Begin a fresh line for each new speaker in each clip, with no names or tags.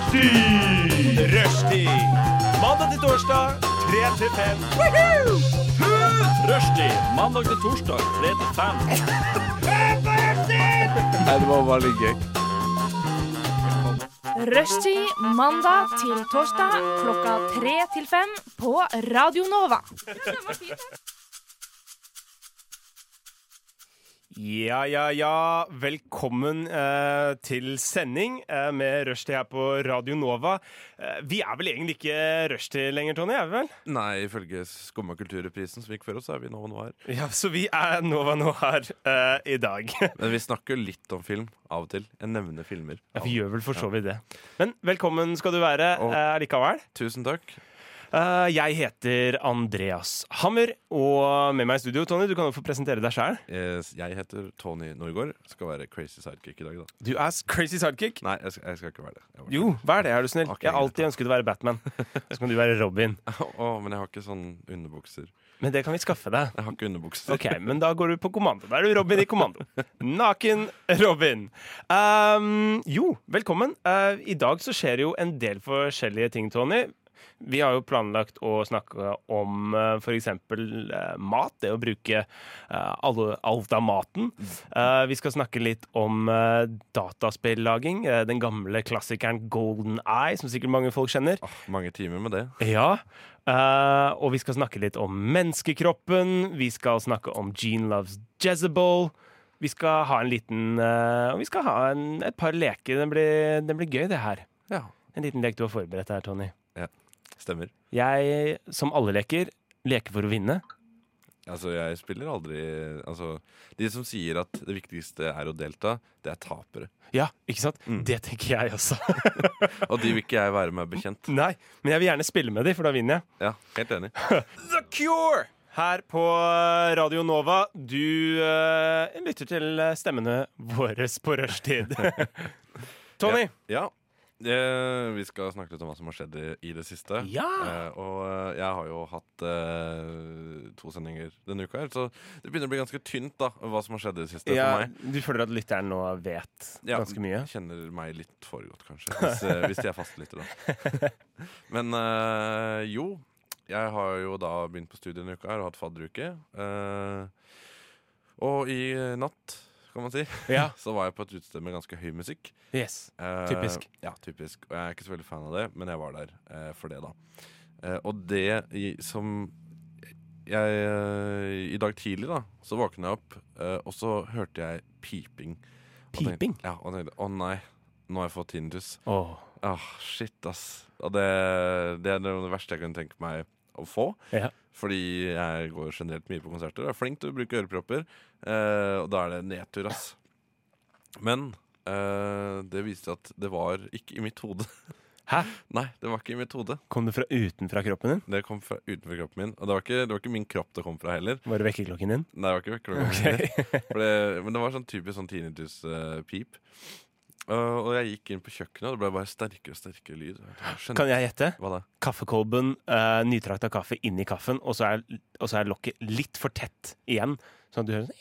Rushtid! Rushtid! Mandag til torsdag, 3 til 5. Rushtid! Mandag til torsdag, 3 til 5.
Nei, det var veldig gøy.
Rushtid mandag til torsdag klokka tre til fem på Radio Nova.
Ja, ja, ja. Velkommen eh, til sending eh, med Rushtid her på Radio Nova. Eh, vi er vel egentlig ikke Rushtid lenger, Tony? er vi vel?
Nei, ifølge Skumma kulturreprisen som gikk før oss, så er vi nå hva nå er.
Ja, Så vi er Nova nå her eh, i dag.
Men vi snakker jo litt om film av og til. Jeg nevner filmer.
Ja, Vi gjør vel for så vidt det. Men velkommen skal du være
Og-
eh, likevel.
Tusen takk.
Eh, jeg heter Andreas Hammer, og med meg i studio, Tony, du kan jo få presentere deg sjæl.
Eh, Jeg heter Tony Norgård. Skal være crazy sidekick i dag, da.
Du er crazy sidekick.
Nei, jeg skal, jeg skal ikke være det. Jeg var-
Jo, vær det, er du snill.
Ok,
jeg har alltid ønsket å være Batman. Så kan du være Robin.
Å, men jeg har ikke sånn underbukser.
Men det kan vi skaffe deg.
Jeg har ikke underbukser.
Ok, Men da går du på kommando. Da er du Robin i kommando. Naken Robin. Ehm, jo, velkommen. Eh, I dag så skjer det jo en del forskjellige ting, Tony. Vi har jo planlagt å snakke om uh, f.eks. uh, mat, det å bruke eh, alle- alt av maten. Eh, Vi skal snakke litt om eh, dataspillaging. eh, Den gamle klassikeren Golden Eye, som sikkert mange folk kjenner.
Åh, mange timer med det.
Ja, eh, og vi skal snakke litt om menneskekroppen. Vi skal snakke om Jean loves Jezebel. Vi skal ha en liten eh, Og vi skal ha en, et par leker. Den blir, den blir gøy, det her.
Ja.
En liten lek du har forberedt her, Tony.
Stemmer.
Jeg, som alle leker, leker for å vinne.
Altså, jeg spiller aldri Altså, de som sier at det viktigste er å delta, det er tapere.
Ja, ikke sant?
Mm.
Det tenker jeg også.
Og de vil ikke jeg være meg bekjent.
Nei, men jeg vil gjerne spille med de, for da vinner jeg.
Ja, helt enig.
The Cure her på Radio Nova. Du eh, lytter til stemmene våre på rushtid. Tony.
Ja. Eh, vi skal snakke litt om hva som har skjedd i, i det siste.
Ja.
Eh, og eh, jeg har jo hatt eh, to sendinger denne uka, her, så det begynner å bli ganske tynt da hva som har skjedd i det siste for meg.
du føler at lytteren nå vet
Ja,
ganske mye?
Kjenner meg litt for godt, kanskje. Hvis, eh, hvis de er fastlytter, da. Men eh, jo. Jeg har jo da begynt på studiet denne uka her og hatt fadderuke. Eh, og i natt, kan man si,
Ja.
så var jeg på et utested med ganske høy musikk.
Yes.
Eh,
Typisk.
Ja, typisk. Og jeg er ikke så veldig fan av det, men jeg var der eh, for det, da. Eh, og det i, som jeg eh, I dag tidlig, da, så våkna jeg opp, eh, og så hørte jeg piping. Og tenkte-
Piping?
ja, og tenkte å nei, nå har jeg fått tinnitus.
Åh,
Ah, shit, ass. Og det, det er noe av det verste jeg kunne tenke meg å få.
Ja.
Fordi jeg går generelt mye på konserter og er flink til å bruke ørepropper. eh, og da er det nedtur, ass. Men eh, det viste at det var ikke i mitt hode.
Hæ?
Nei, det var ikke i mitt hode.
Kom det fra utenfra kroppen din?
Det kom fra utenfor kroppen min. Og det var ikke, det var ikke min kropp det kom fra heller.
Var det vekkerklokken din?
Nei, det var ikke vekkerklokka.
Ok.
For det, men det var sånn typisk sånn tinnitus-pip. Eh, og jeg gikk inn på kjøkkenet, og det ble bare sterkere og sterkere lyd. Skjønner.
Kan jeg gjette?
Hva da?
Kaffekolben, uh, nytrakta kaffe inni kaffen, og så, er, og så er lokket litt for tett igjen. Sånn at du hører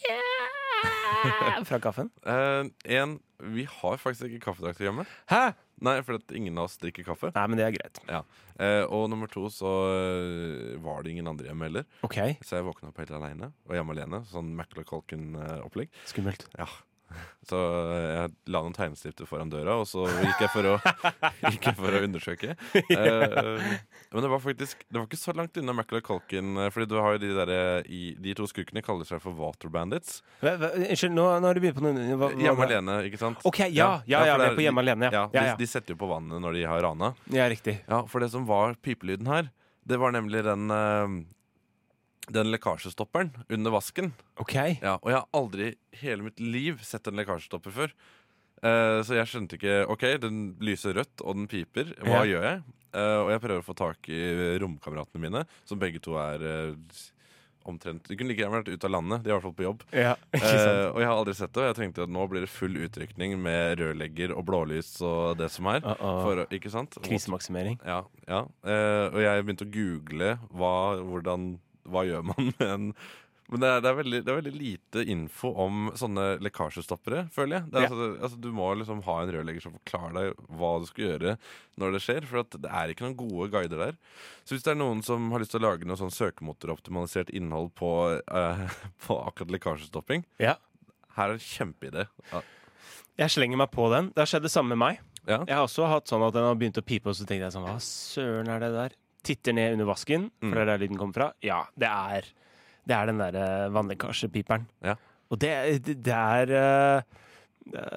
sånn fra kaffen.
Eh, en, vi har faktisk ikke kaffedrakter hjemme.
Hæ?
Nei, fordi ingen av oss drikker kaffe.
Nei, men det er greit.
Eh, og nummer to, så eh, var det ingen andre hjemme heller.
OK,
Så jeg våkna opp helt aleine, og hjemme alene. Sånn Macaulay-Colkin-opplegg.
skummelt.
Ja. Så eh, jeg la noen tegnestifter foran døra, og så gikk jeg for å, gikk jeg for å undersøke. Eh, men det var faktisk Det var ikke så langt unna Macaulay Culkin. eh, Fordi du har jo de der, eh, i, De to skurkene kaller seg for Water Bandits.
Hva- hva- Unnskyld, nå, nå har du begynt på noe hva- hva-
Hjemme alene, ikke sant?
OK, ja, ja, ja,
for
vi
det
er på hjemme alene. Ja,
Ja,
ja,
de,
ja.
de setter jo på vannet når de har rana.
ja riktig.
Ja, for det som var pipelyden her, det var nemlig den eh, Den lekkasjestopperen under vasken.
OK.
Ja, Og jeg har aldri i hele mitt liv sett en lekkasjestopper før. Eh, så jeg skjønte ikke OK, den lyser rødt, og den piper. Hva
Ja.
gjør jeg? Eh, og jeg prøver å få tak i romkameratene mine, som begge to er eh, omtrent De kunne like gjerne vært ute av landet. De er i hvert fall på jobb.
Ja, ikke sant?
Eh, og jeg har aldri sett det, og jeg tenkte at nå blir det full utrykning med rødlegger og blålys og det som er.
Uh-oh.
For, å- ikke sant?
Krisemaksimering.
Ja, ja. Eh, og jeg begynte å google hva, hvordan, hva gjør man med en Men det er, det, er veldig, det er veldig lite info om sånne lekkasjestoppere, føler jeg. Det er,
Ja.
altså, altså, du må liksom ha en rørlegger som forklarer deg hva du skal gjøre når det skjer. For at det er ikke noen gode guider der. Så hvis det er noen som har lyst til å lage noe sånn søkemotoroptimalisert innhold på, eh, på akkurat lekkasjestopping,
Ja.
her er en kjempeidé. Ja.
Jeg slenger meg på den. Det har skjedd det samme med meg.
Ja.
Jeg har også hatt sånn at den har begynt å pipe, og så tenkte jeg sånn Hva søren er det der? Titter ned under vasken, for
Mm.
det er der lyden kommer fra. Ja, det er, det er den derre vannlekkasjepiperen.
Ja.
Og det, det, det er eh,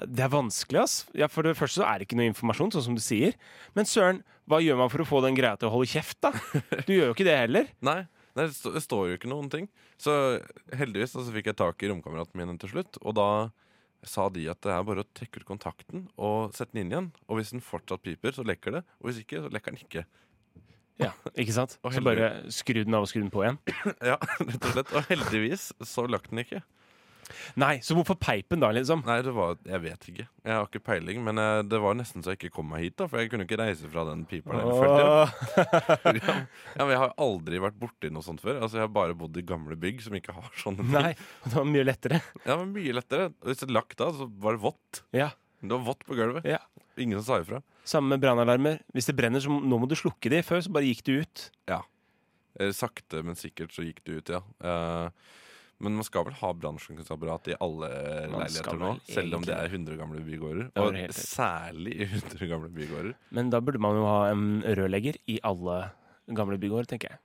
Det er vanskelig, ass. Ja, for det første så er det ikke noe informasjon, sånn som du sier. Men søren, hva gjør man for å få den greia til å holde kjeft, da? Du gjør jo ikke det heller.
Nei, nei det, stå, det står jo ikke noen ting. Så heldigvis da, så fikk jeg tak i romkameraten min til slutt. Og da sa de at det er bare å trekke ut kontakten og sette den inn igjen. Og hvis den fortsatt piper, så lekker det. Og hvis ikke, så lekker den ikke.
Ja, ikke sant?
Og
Så
heldig.
bare skru den av og skru den på igjen.
Ja, rett Og slett Og heldigvis så lakk den ikke.
Nei, så hvorfor peipen da, liksom?
Nei, det var, jeg vet ikke. Jeg har ikke peiling, men eh, det var nesten så jeg ikke kom meg hit. da For jeg kunne ikke reise fra den piperen. jeg følte.
Åh.
Ja, men jeg har aldri vært borti noe sånt før. Altså Jeg har bare bodd i gamle bygg som ikke har sånne ting.
Nei, det var mye lettere.
Ja, men Mye lettere. Og Hvis det lakk da, så var det vått.
Ja.
Det var vått på gulvet.
Ja.
Ingen som sa ifra.
Samme med brannalarmer. Hvis det brenner, så må- nå må du slukke de. Før så bare gikk du ut.
Eh, Sakte, men sikkert så gikk det ut, ja. Eh, men man skal vel ha brannslukningsapparat i alle
Man skal
leiligheter nå?
vel
Selv om det
egentlig
er 100 gamle bygårder.
var
Og
du helt rett.
særlig i 100 gamle bygårder.
Men da burde man jo ha en rørlegger i alle gamle bygårder, tenker jeg.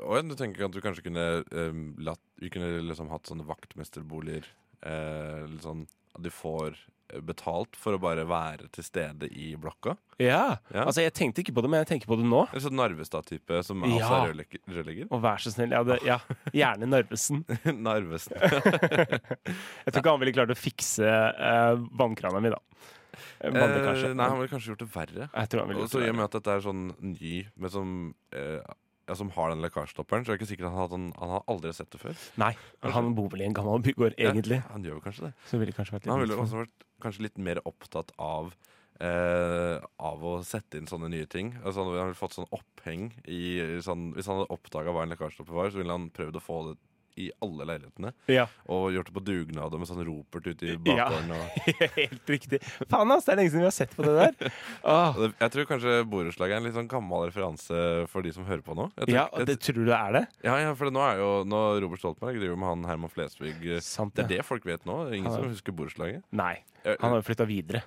Og jeg- du tenker ikke at du kanskje kunne eh, latt Vi kunne liksom hatt sånne vaktmesterboliger eh, litt sånn At de får eh, betalt for å bare være til stede i blokka?
Ja,
Ja.
altså Jeg tenkte ikke på det, men jeg tenker på det nå.
En sånn Narvestad-type som har ja.
Ja.
seg rørlegger- rørlegger?
Og vær så snill. Ja, det, ja. Gjerne Narvesen.
Narvesen.
Jeg tror ikke han ville klart å fikse eh, vannkrana mi, da. Eh,
Eh,
Vannlekkasje.
nei, han ville kanskje gjort det verre.
Jeg tror han ville
Og
gjort
så i og
det.
med at dette er sånn ny, men som, eh, ja, som har den lekkasjestopperen, så er det ikke sikkert han, hadde, han har aldri sett det før.
Nei, han bor vel i en gammel bygård, egentlig.
Ja, han gjør jo kanskje det.
Så ville det kanskje vært
Men han
litt
ville også vært kanskje litt mer opptatt av eh, av å sette inn sånne nye ting. Altså, han ville fått sånn oppheng i sånn, Hvis han hadde oppdaga hva en lekkasjestopper var, så ville han prøvd å få det i alle leilighetene.
Ja,
Og gjort det på dugnad og med sånn ropert ute i
Ja.
bakgården. Og,
Helt riktig. Faen, ass, det er lenge siden vi har sett på det der. Åh.
og det, jeg tror kanskje borettslaget er en litt sånn gammel referanse for de som hører på nå. Jeg tror,
Ja, og det tror du det er det?
Ja, ja, for nå er jo nå Robert Stoltenberg driver med han Herman Flesvig. eh,
Sant,
Det
ja.
er det folk vet nå. Det er Ingen
Han er-
som husker borettslaget.
Nei.
Eh,
Han har jo flytta videre.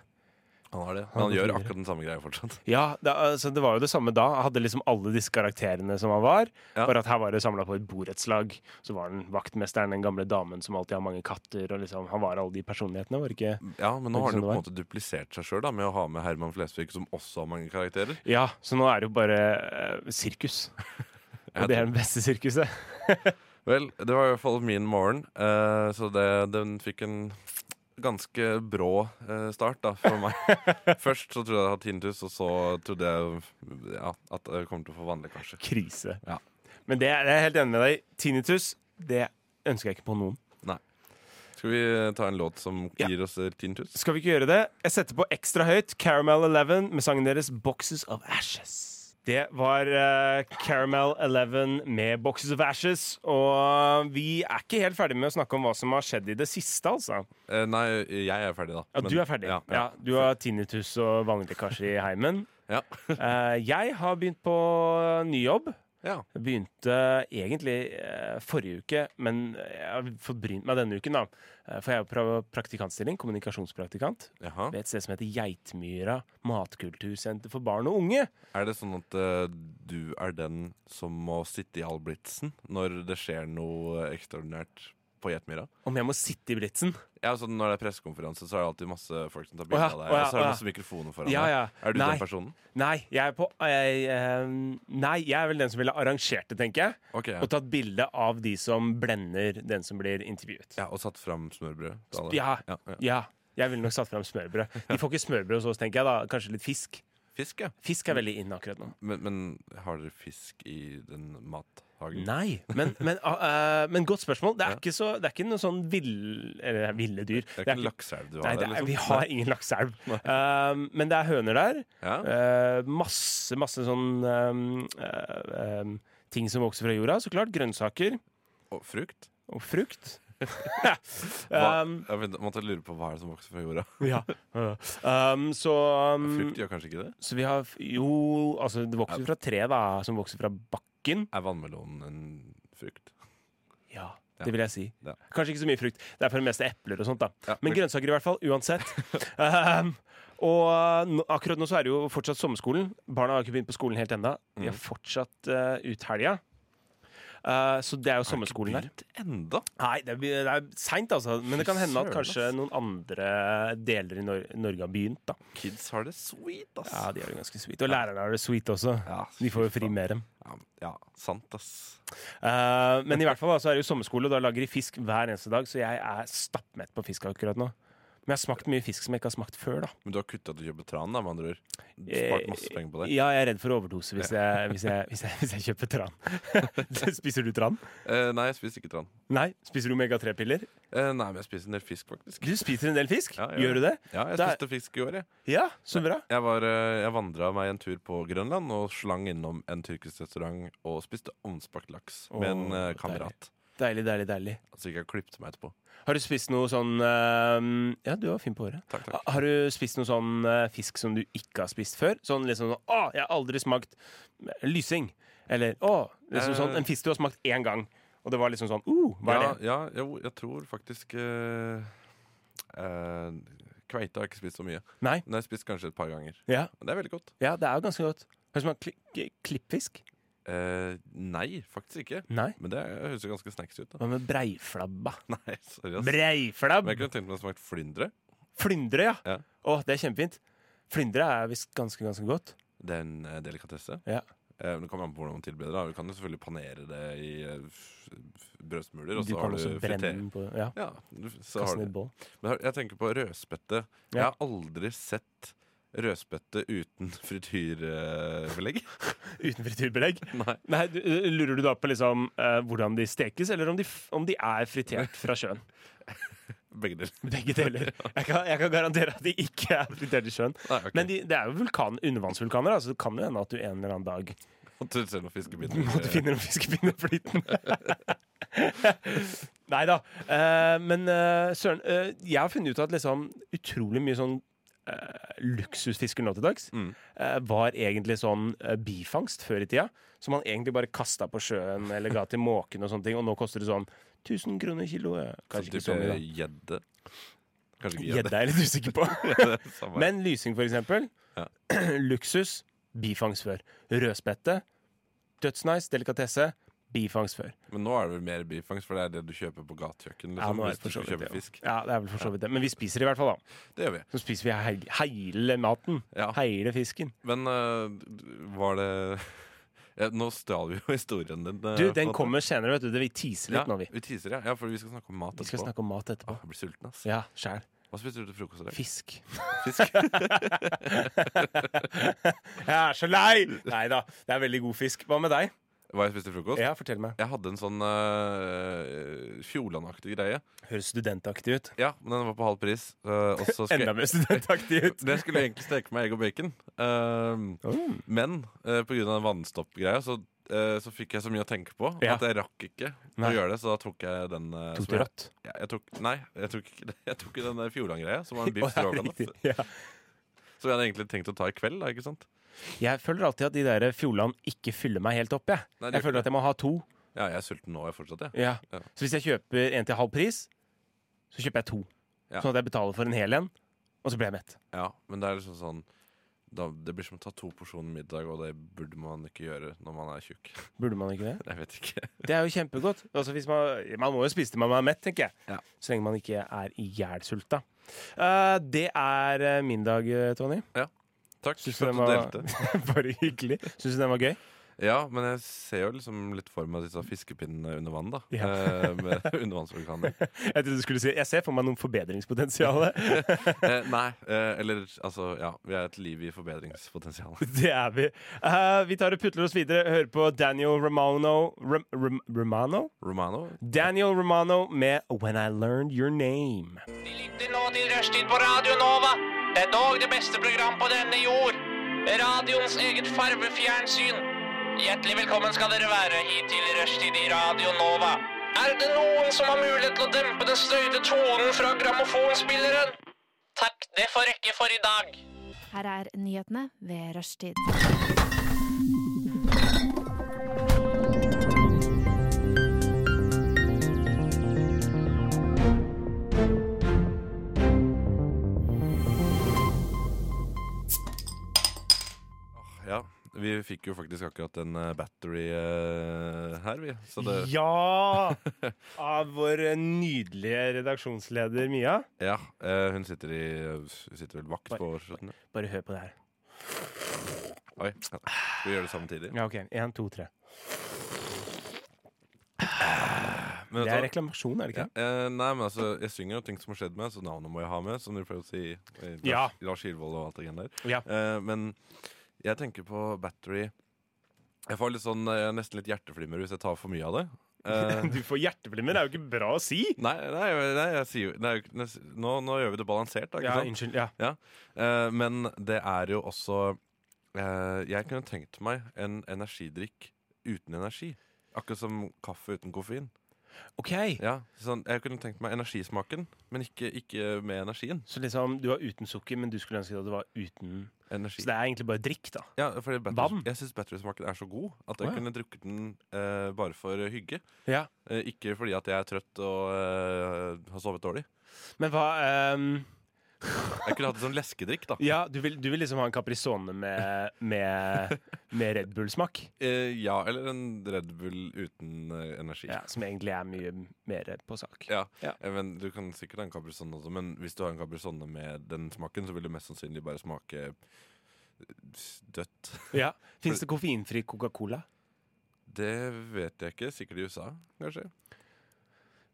han har det.
han
Men han
har
gjør
fått
akkurat den samme greia fortsatt.
Ja, det, altså, det var jo det samme da. Han hadde liksom alle disse karakterene som han var.
Ja.
Bare at her var det samla på et borettslag. Så var han vaktmesteren, den gamle damen som alltid har mange katter. Og liksom, han var alle de personlighetene, var det ikke?
Ja, Men nå
Ikke
har
sånn
han jo på en
det
måte duplisert seg sjøl med å ha med Herman Flesvig, som også har mange karakterer.
Ja, så nå er det jo bare eh, sirkus. Og det er det beste sirkuset.
Vel, det var i hvert fall min morgen, eh, så det, den fikk en ganske brå eh, start da, for meg. Først så trodde jeg jeg hadde tinnitus, og så trodde jeg ja, at jeg kom til å få vannlekkasje.
Krise.
Ja.
Men det er jeg er helt enig med deg i. Tinnitus, det ønsker jeg ikke på noen.
Skal vi ta en låt som
Ja.
gir oss eh, tinnitus?
Skal vi ikke gjøre det? Jeg setter på ekstra høyt Caramel 11 med sangen deres Boxes of Ashes. Det var eh, Caramel 11 med Boxes of Ashes. Og vi er ikke helt ferdig med å snakke om hva som har skjedd i det siste, altså.
Eh, nei, jeg er ferdig, da.
Ja,
Men-
du er ferdig. Ja,
ja.
du har tinnitus og vannlekkasje i heimen.
Ja.
Eh, jeg har begynt på ny jobb.
ja.
Begynte egentlig eh, forrige uke, men jeg har fått brynt meg denne uken, da. Eh, For jeg er jo pra- praktikantstilling, kommunikasjonspraktikant
Jaha.
ved et sted som heter Geitmyra matkultursenter for barn og unge.
Er det sånn at eh, du er den som må sitte i all blitsen når det skjer noe ekstraordinært på Gjetmyra?
Om jeg må sitte i blitsen?
Ja, altså Når det er pressekonferanse, så er det alltid masse folk som tar
Å
bilde
ja,
av
å
deg.
ja,
Og så er
å ja.
det masse mikrofoner foran
Ja, ja.
deg. Er du
Nei.
den personen?
Nei, jeg er på jeg, eh, Nei, jeg er vel den som ville arrangert det, tenker jeg.
Ok, ja.
Og tatt bilde av de som blender den som blir intervjuet.
ja, Og satt fram smørbrød til alle?
Ja.
Ja, ja.
ja. Jeg ville nok satt fram smørbrød. De får ikke smørbrød hos oss, tenker jeg. da Kanskje litt fisk.
Fisk, ja.
Fisk er veldig inn akkurat nå.
Men, men har dere fisk i den mathagen?
Nei, men, men, ah, eh, men godt spørsmål. Det er
Ja.
ikke, så, det er ikke noe sånn vill, eller, ville dyr.
Det
Det
er
er
ikke en lakseelv du har
Nei, det
der?
er,
Liksom.
vi har ingen lakseelv. Um, men det er høner der.
Ja.
Eh, masse, masse sånn ehm, um, eh, um, ting som vokser fra jorda. Så klart grønnsaker.
Og frukt?
Og frukt.
Hva-
um,
Jeg vet- måtte lure på hva er det som vokser fra jorda.
ja. um, så, um,
Frukt gjør kanskje ikke det?
så vi har Jo, altså det vokser fra tre da, som vokser fra bakken.
Er vannmelonen en frukt?
Ja,
Ja.
det vil jeg si.
Ja.
Kanskje ikke så mye frukt. Det er for det meste epler og sånt. da
Ja,
Men
men-
grønnsaker i hvert fall. Uansett. um, og eh, nå, akkurat nå så er det jo fortsatt sommerskolen. Barna har ikke begynt på skolen helt ennå. De har fortsatt eh, ut helga. Eh, så det er jo sommerskolen der.
Begynt Enda?
Nei, det er, det er seint, altså. Men det kan
Fy
hende at
søren,
kanskje
ass.
noen andre deler i Nor Norge har begynt, da.
Kids har det sweet, ass.
Ja, de er jo ganske sweet. Og lærerne har det sweet også.
Ja,
De får jo
fy
fri
faen.
mer enn.
Ja, ja, sant, ass.
Eh, men i hvert fall da, så er det jo sommerskole, og da lager de fisk hver eneste dag, så jeg er stappmett på fisk akkurat nå. Men jeg har smakt mye fisk som jeg ikke har smakt før, da.
Men du har kutta ut å kjøpe tran, da, med andre ord? Du
Eh,
Spart masse penger på det.
Ja, jeg er redd for overdose hvis jeg, hvis jeg, hvis jeg, hvis jeg kjøper tran. spiser du tran?
Eh, nei, jeg spiser ikke tran.
Nei. Spiser du omega-3-piller?
Eh, nei, men jeg spiser en del fisk, faktisk.
Du spiser en del fisk.
Ja, ja.
Gjør du det?
Ja, jeg
Det er-
spiste fisk i år, jeg.
Ja, så bra.
Jeg, var, eh, jeg vandra meg en tur på Grønland og slang innom en tyrkisk restaurant og spiste ovnsbakt laks med en
Åh,
eh, kamerat.
Deilig, deilig, deilig.
Så gikk jeg og klipte meg etterpå.
Har du spist noe sånn eh, Ja, du var fin på håret.
Takk, takk.
Ha- Har du spist noe sånn eh, fisk som du ikke har spist før? Sånn liksom sånn, Å, jeg har aldri smakt lysing. Eller å, liksom
Eh.
sånn En fisk du har smakt én gang. Og det var liksom sånn Uh, hva er
ja,
det?
ja, jo, jeg tror faktisk eh, eh, Kveite har jeg ikke spist så mye.
Nei.
Men jeg har spist kanskje et par ganger.
Ja,
Men det er veldig godt.
ja det er jo ganske godt. Har du smakt kli k- klippfisk?
Eh, nei, faktisk ikke.
Nei.
Men det høres jo ganske snacks ut. da
Hva med breiflabba?
Nei, sorry ass.
Breiflabb!
Men jeg kunne tenkt meg å smake flyndre.
Flyndre, ja.
Ja.
Å, det er kjempefint. Flyndre er visst ganske, ganske godt.
Det er en eh, delikatesse.
Ja.
Eh, men det kommer an på hvordan man tilbereder det. da. Du kan jo selvfølgelig panere det i eh, f- f- brødsmuler, og
Du
så har
kan
du
også brenne
friter-
den på Ja,
Ja, du- så har
kaste den i
du.
et bål.
Men har- jeg tenker på rødspette. Jeg
Ja.
har aldri sett rødspette uten eh, frityrbelegg.
Uten frityrbelegg?
Nei.
Nei, du, ø, Lurer du da på liksom eh, hvordan de stekes, eller om de, f- om de er fritert fra sjøen?
Begge deler.
Begge deler. Jeg kan, jeg kan garantere at de ikke er fritert i sjøen.
Nei, ok.
Men de, det er jo vulkan, undervannsvulkaner, da, så det kan jo hende at du en eller annen dag
Og du ser noen fiskebiter. Eh,
måtte finne en fiskepinne flytende. Nei da. men eh, søren, eh, jeg har funnet ut at liksom utrolig mye sånn eh, luksusfisker nå til dags
Mm.
eh, var egentlig sånn eh, bifangst før i tida. Som man egentlig bare kasta på sjøen eller ga til måken og sånne ting. Og nå koster det sånn 1000 kroner kiloet. Kanskje ikke så
eh,
mye, da.
Gjedde. Kanskje ikke
Gjedde er jeg litt usikker på.
gjedde. Samme.
Men lysing, for eksempel.
Ja.
Luksus. Bifangst før. Rødspette. Dødsnice. Delikatesse. Bifangst før.
Men nå er det vel mer bifangst, for det er det du kjøper på gatekjøkken. Liksom,
Ja, nå er det
hvis
for
du
så
skal
vidt
kjøpe
det.
fisk.
også. Ja, det er vel for så vidt det. Men vi spiser i hvert fall, da.
Det gjør vi.
Så spiser vi hei- hele maten.
Ja.
Hele fisken.
Men øh, var det ja, Nå stjal vi jo historien din. øh,
Du,
på en
den
måte.
kommer senere, vet du. Det- Vi teaser
ja,
litt nå, vi.
Vi teaser, ja. ja, for vi skal snakke om mat
Vi skal
etterpå.
snakke om mat etterpå.
Åh, jeg blir sulten, ass.
Ja, sjæl.
Hva spiser du til frokost i dag?
Fisk.
Fisk.
Jeg er så lei! Nei da, det er veldig god fisk. Hva med deg?
Hva jeg spiste til frokost?
Ja, fortell meg.
Jeg hadde en sånn øh, Fjordland-aktig greie.
Høres studentaktig ut.
Ja, men den var på halv pris. øh, og så skulle
Enda mer studentaktig ut.
Det skulle egentlig steke med egg og bacon. Ehm,
Mm.
Men uh, pga. vannstoppgreia så, eh, så fikk jeg så mye å tenke på
Ja.
at jeg rakk ikke
Nei.
å gjøre det. Så da tok jeg den eh,
Tok
som
du
jeg,
rødt?
Ja, jeg tok, Nei, jeg tok, ikke- jeg tok ikke den eh, Fjordland-greia, som var en biff
Å, ja,
stroganoff.
riktig. Ja.
Som jeg hadde egentlig tenkt å ta i kveld. da, ikke sant?
Jeg føler alltid at de der Fjordland ikke fyller meg helt opp. Jeg,
Nei, de
jeg
gjør
føler
ikke
at jeg må ha to.
Ja, jeg er sulten nå, jeg fortsatt. Jeg.
Ja.
Ja.
Så hvis jeg kjøper en til halv pris, så kjøper jeg to.
Ja.
Sånn at jeg betaler for en hel en, og så blir jeg mett.
Ja, men det er liksom sånn da, Det blir som å ta to porsjoner middag, og det burde man ikke gjøre når man er tjukk.
Burde man ikke det?
Jeg vet ikke.
Det er jo kjempegodt. Altså hvis man, man må jo spise til man er mett, tenker jeg.
Ja.
Så lenge man ikke er i hjel sulta. Eh, det er eh, min dag, eh, Tony.
Takk
Synes du
for at
den
du
var-
delte.
Bare hyggelig. Syns du den var gøy?
Ja, men jeg ser jo liksom litt for meg disse fiskepinnene under vann, da.
Ja.
Eh, med undervannsorganer.
Jeg trodde du skulle si Jeg ser for meg noen forbedringspotensial.
Eh, nei, eh, eller altså Ja, vi er et liv i forbedringspotensial.
Det er vi. Eh, vi tar og putler oss videre. Hører på Daniel Romano Rom, Rom, Romano?
Romano?
Daniel Romano med When I Learned Your Name.
De lytter nå til Rushtid på Radio Nova. Det er dog det beste program på denne jord. Radioens eget farvefjernsyn. Hjertelig velkommen skal dere være hit til Rushtid i Radio Nova. Er det noen som har mulighet til å dempe den støyte tonen fra grammofonspilleren? Takk, det får rekke for i dag.
Her er nyhetene ved rushtid.
Ja, vi fikk jo faktisk akkurat en eh, battery eh, her, vi. Så det,
Ja! Av vår nydelige redaksjonsleder Mia.
ja, eh, hun sitter i Hun sitter vel vakt på årsskjøttene.
Bare hør på det her.
Oi. Skal vi gjøre det samtidig?
Ja, ok. Én, to, tre. Det er
Men, vet du hva?
reklamasjon, er det
ja,
ikke?
eh, nei, men altså, jeg synger jo ting som har skjedd meg, så navnet må jeg ha med. Som du prøver å si. Eh, Lars,
Ja.
Lars Hilvold og alt det greiene der.
Ja.
Eh, men jeg tenker på battery Jeg får litt sånn, eh, nesten litt hjerteflimmer hvis jeg tar for mye av det. Eh,
Du får hjerteflimmer, det er jo ikke bra å si!
nei, nei, nei, jeg sier jo det er jo ikke- nå, nå gjør vi det balansert, da. Ikke
Ja,
sant?
unnskyld. Ja.
Eh, men det er jo også eh, Jeg kunne tenkt meg en energidrikk uten energi. Akkurat som kaffe uten koffein.
OK.
Ja, sånn, jeg kunne tenkt meg energismaken, men ikke, ikke med energien.
Så liksom, du var uten sukker, men du skulle ønske at det var uten
Energi.
Så det er egentlig bare drikk, da.
Ja, fordi battery,
Vann?
Jeg syns batterysmaken er så god at
Å,
jeg
ja.
kunne drukket den eh, bare for hygge.
Ja.
Eh, ikke fordi at jeg er trøtt og eh, har sovet dårlig.
Men hva ehm,
Jeg kunne hatt en sånn leskedrikk, da.
Ja, du vil, du vil liksom ha en Caprisone med, med, med Red Bull-smak?
Eh, ja, eller en Red Bull uten eh, energi.
Ja, som egentlig er mye mer på sak.
Ja,
Ja.
eh, Men Du kan sikkert ha en cabrisonne også, men hvis du har en cabrisonne med den smaken, så vil det mest sannsynlig bare smake eh, dødt.
Ja. Fins det koffeinfri Coca-Cola?
Det vet jeg ikke. Sikkert i USA, kanskje.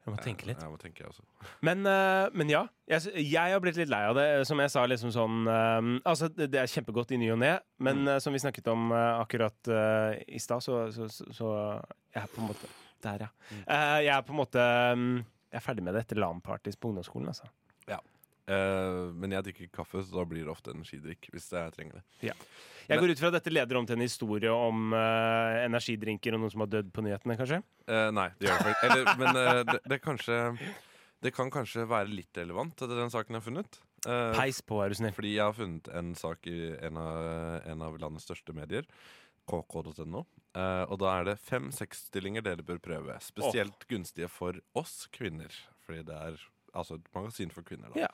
Jeg må tenke litt.
Ja, jeg må tenke jeg også.
Men, eh, men ja. Jeg, s- jeg har blitt litt lei av det. Som jeg sa, liksom sånn eh, Altså, det det er kjempegodt i ny og ne, men eh, som vi snakket om eh, akkurat eh, i stad, så, så, så, så Jeg er på en måte Der, ja. Eh, jeg er på en måte mm, Jeg er ferdig med det etter LAN-parties på ungdomsskolen, altså.
Eh, men jeg drikker kaffe, så da blir det ofte energidrikk. Hvis det jeg trenger det.
Jeg
Men-
går ut fra at dette leder om til en historie om eh, energidrinker og noen som har dødd på nyhetene, kanskje?
Eh, nei, det gjør det faktisk Eller, Men eh, det, det er kanskje Det kan kanskje være litt relevant til den saken jeg har funnet. Eh,
Peis på, er du snill.
Fordi jeg har funnet en sak i en av, en av landets største medier, kk.no. eh, og da er det fem sexstillinger dere bør prøve. Spesielt gunstige for oss kvinner. Fordi det er altså et magasin for kvinner. da
Ja.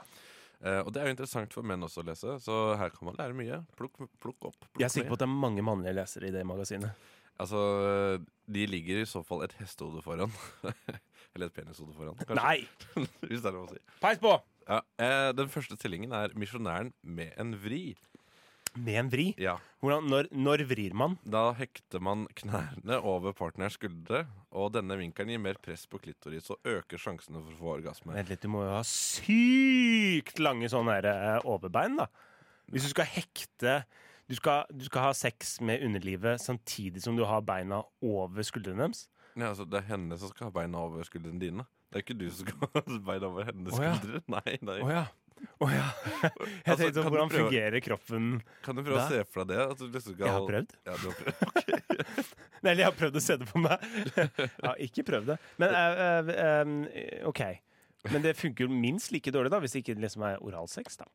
Eh, og det er jo interessant for menn også å lese, så her kan man lære mye. Plukk, plukk opp. Plukk
Jeg er sikker på
ned.
at det er mange mannlige lesere i det magasinet.
Altså, De ligger i så fall et hestehode foran. Eller et penishode foran, kanskje.
Nei!
Hvis det er lov å si.
Peis på!
Ja, eh, den første stillingen er 'Misjonæren med en vri'.
Med en vri.
Ja,
Hvordan, når, når vrir man?
Da hekter man knærne over partnerens skuldre, og denne vinkelen gir mer press på klitoris og øker sjansene for å få orgasme.
Vent litt, du må jo ha sykt lange sånne her, eh, overbein, da. Hvis du skal hekte du skal, du skal ha sex med underlivet samtidig som du har beina over skuldrene deres.
Nei, altså, det er henne som skal ha beina over skuldrene dine. Det er ikke du som skal ha beina over hennes
Å, ja.
skuldre. Nei, nei.
ja. Jeg
Altså,
tenkte
kan
sånn,
du
Hvordan
prøve-
fungerer kroppen?
Kan du prøve
Da?
å se for deg det? At du liksom skal
Jeg har
ha-
prøvd.
Ja, du har prøvd.
Nei, Eller jeg har prøvd å se det for meg. Jeg har ikke prøvd det. Men eh, eh, eh, OK. Men det funker jo minst like dårlig da hvis det ikke liksom er oralsex. da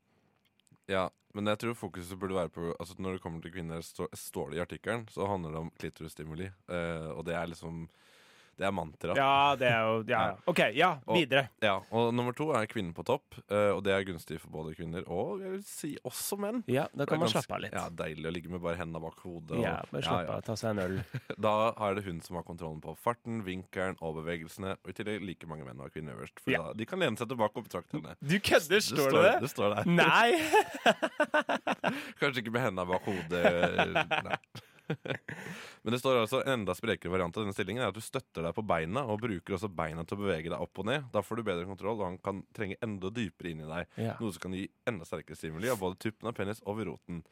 Ja, men jeg tror fokuset burde være på altså, Når det kommer til kvinner, stå, står det i artikkelen, så handler det om klitorisstimuli. Eh, og det er liksom Det er mantra.
Ja, det er jo ja, ja. OK, ja,
Og-
videre.
Ja, og nummer to er kvinnen på topp, eh, og det er gunstig for både kvinner og jeg vil si også menn.
Ja, Da kan man
Det er ganske-
slappe av litt.
Ja, Deilig å ligge med bare hendene bak hodet. og-
Ja, bare slappe
ja,
av, ta seg en øl.
ja. Da er det hun som har kontrollen på farten, vinkelen og bevegelsene. Og i tillegg like mange menn og kvinner øverst. For
Ja.
da, de kan lene seg tilbake og betrakte henne.
Du kødder, står det det?
det står der.
Nei!
Kanskje ikke med hendene bak hodet. eh, Nei. Men det står altså en enda sprekere variant av denne stillingen er at du støtter deg på beina og bruker også beina til å bevege deg opp og ned. Da får du bedre kontroll, og han kan trenge enda dypere inn i deg.
Ja.
Noe som kan gi enda sterkere stimuli av både tuppen av penis og roten.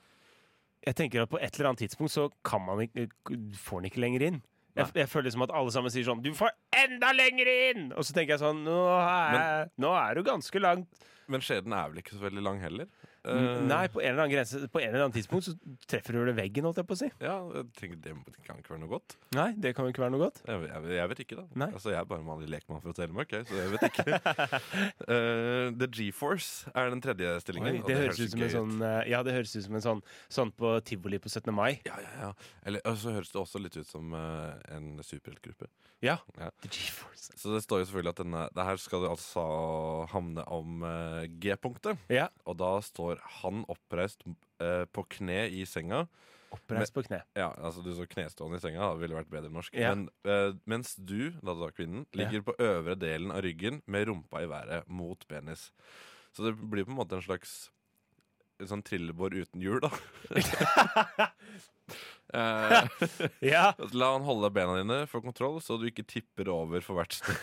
Jeg tenker at på et eller annet tidspunkt så kan man ikke, får den ikke lenger inn. Jeg, jeg føler liksom at alle sammen sier sånn 'Du får enda lenger inn!' Og så tenker jeg sånn Nå er, nå er du ganske langt
Men skjeden er vel ikke så veldig lang heller?
Øh.
Eh,
Nei, på en, eller annen grense, på en eller annen tidspunkt så treffer du vel veggen, holdt jeg på å si.
Ja, jeg tenker, det kan ikke være noe godt.
Nei, det kan jo ikke være noe godt.
Jeg, jeg, jeg vet ikke, da.
Nei.
Altså, Jeg er bare en vanlig lekmann fra Telemark, jeg, så jeg vet ikke. Eh, The G-Force er den tredje stillingen.
Oi,
og
det høres ut som
gøy
en sånn eh, Ja, det høres ut som en sånn sånn på tivoli på 17. mai.
Ja, ja, ja. Eller og så høres det også litt ut som eh, en superheltgruppe.
Ja.
Ja.
The GeForce.
Så det står jo selvfølgelig at denne Det her skal det altså hamne om eh, G-punktet.
Ja.
Og da står han oppreist eh, på kne i senga.
Oppreist på kne.
Ja, altså du så knestående i senga, da ville vært bedre norsk.
Ja.
Men eh, mens du, da da kvinnen, ligger på øvre delen av ryggen med rumpa i været mot penis. Så det blir på en måte en slags en sånn trillebår uten hjul, da. Eh,
Ja!
la han holde bena dine for kontroll, så du ikke tipper over for hvert sted.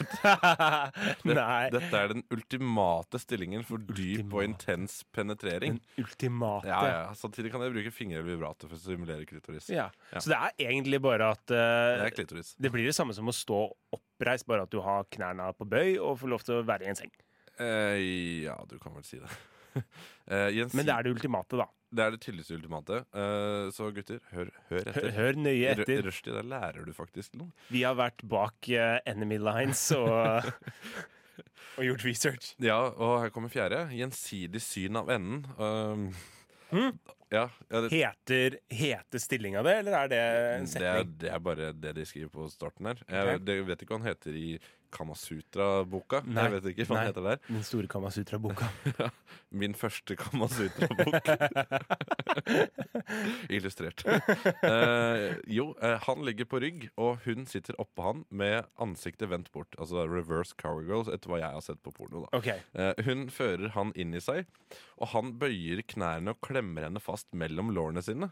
Nei.
Dette er den ultimate stillingen for dyp og
Ultimate.
intens penetrering.
Den ultimate.
Ja, ja. Samtidig kan jeg bruke fingre eller vibrator for å simulere klitoris.
Ja.
Ja.
Så det er egentlig bare at
Det
eh,
er klitoris.
det blir det samme som å stå oppreist, bare at du har knærne på bøy og får lov til å være i en seng.
Eh, ja, du kan vel si det. Eh, Jens,
Men det er det ultimate, da.
det er det tydeligste ultimate. Eh, så gutter, hør, hør
Hør,
etter.
hør nøye
Rø-
etter.
Rushdie, der lærer du faktisk noe.
Vi har vært bak eh, Enemy Lines og, og gjort research.
Ja, og her kommer fjerde. Gjensidig syn av enden. Um,
Hm?
ja, ja, det,
Heter, heter stillinga det, eller er det en
det, er,
setning?
det er bare det de skriver på starten her. Jeg
Ok.
det, jeg vet ikke hva han heter i Kamasutra-boka.
Nei.
Jeg vet ikke hva
Nei.
han heter der.
Den store Kamasutra-boka.
Min første Kamasutra-bok. Illustrert. Eh, jo, eh, han ligger på rygg, og hun sitter oppå han med ansiktet vendt bort. Altså reverse cowgirls, etter hva jeg har sett på porno. da
Ok.
Eh, Hun fører han inn i seg, og han bøyer knærne og klemmer henne fast mellom lårene sine.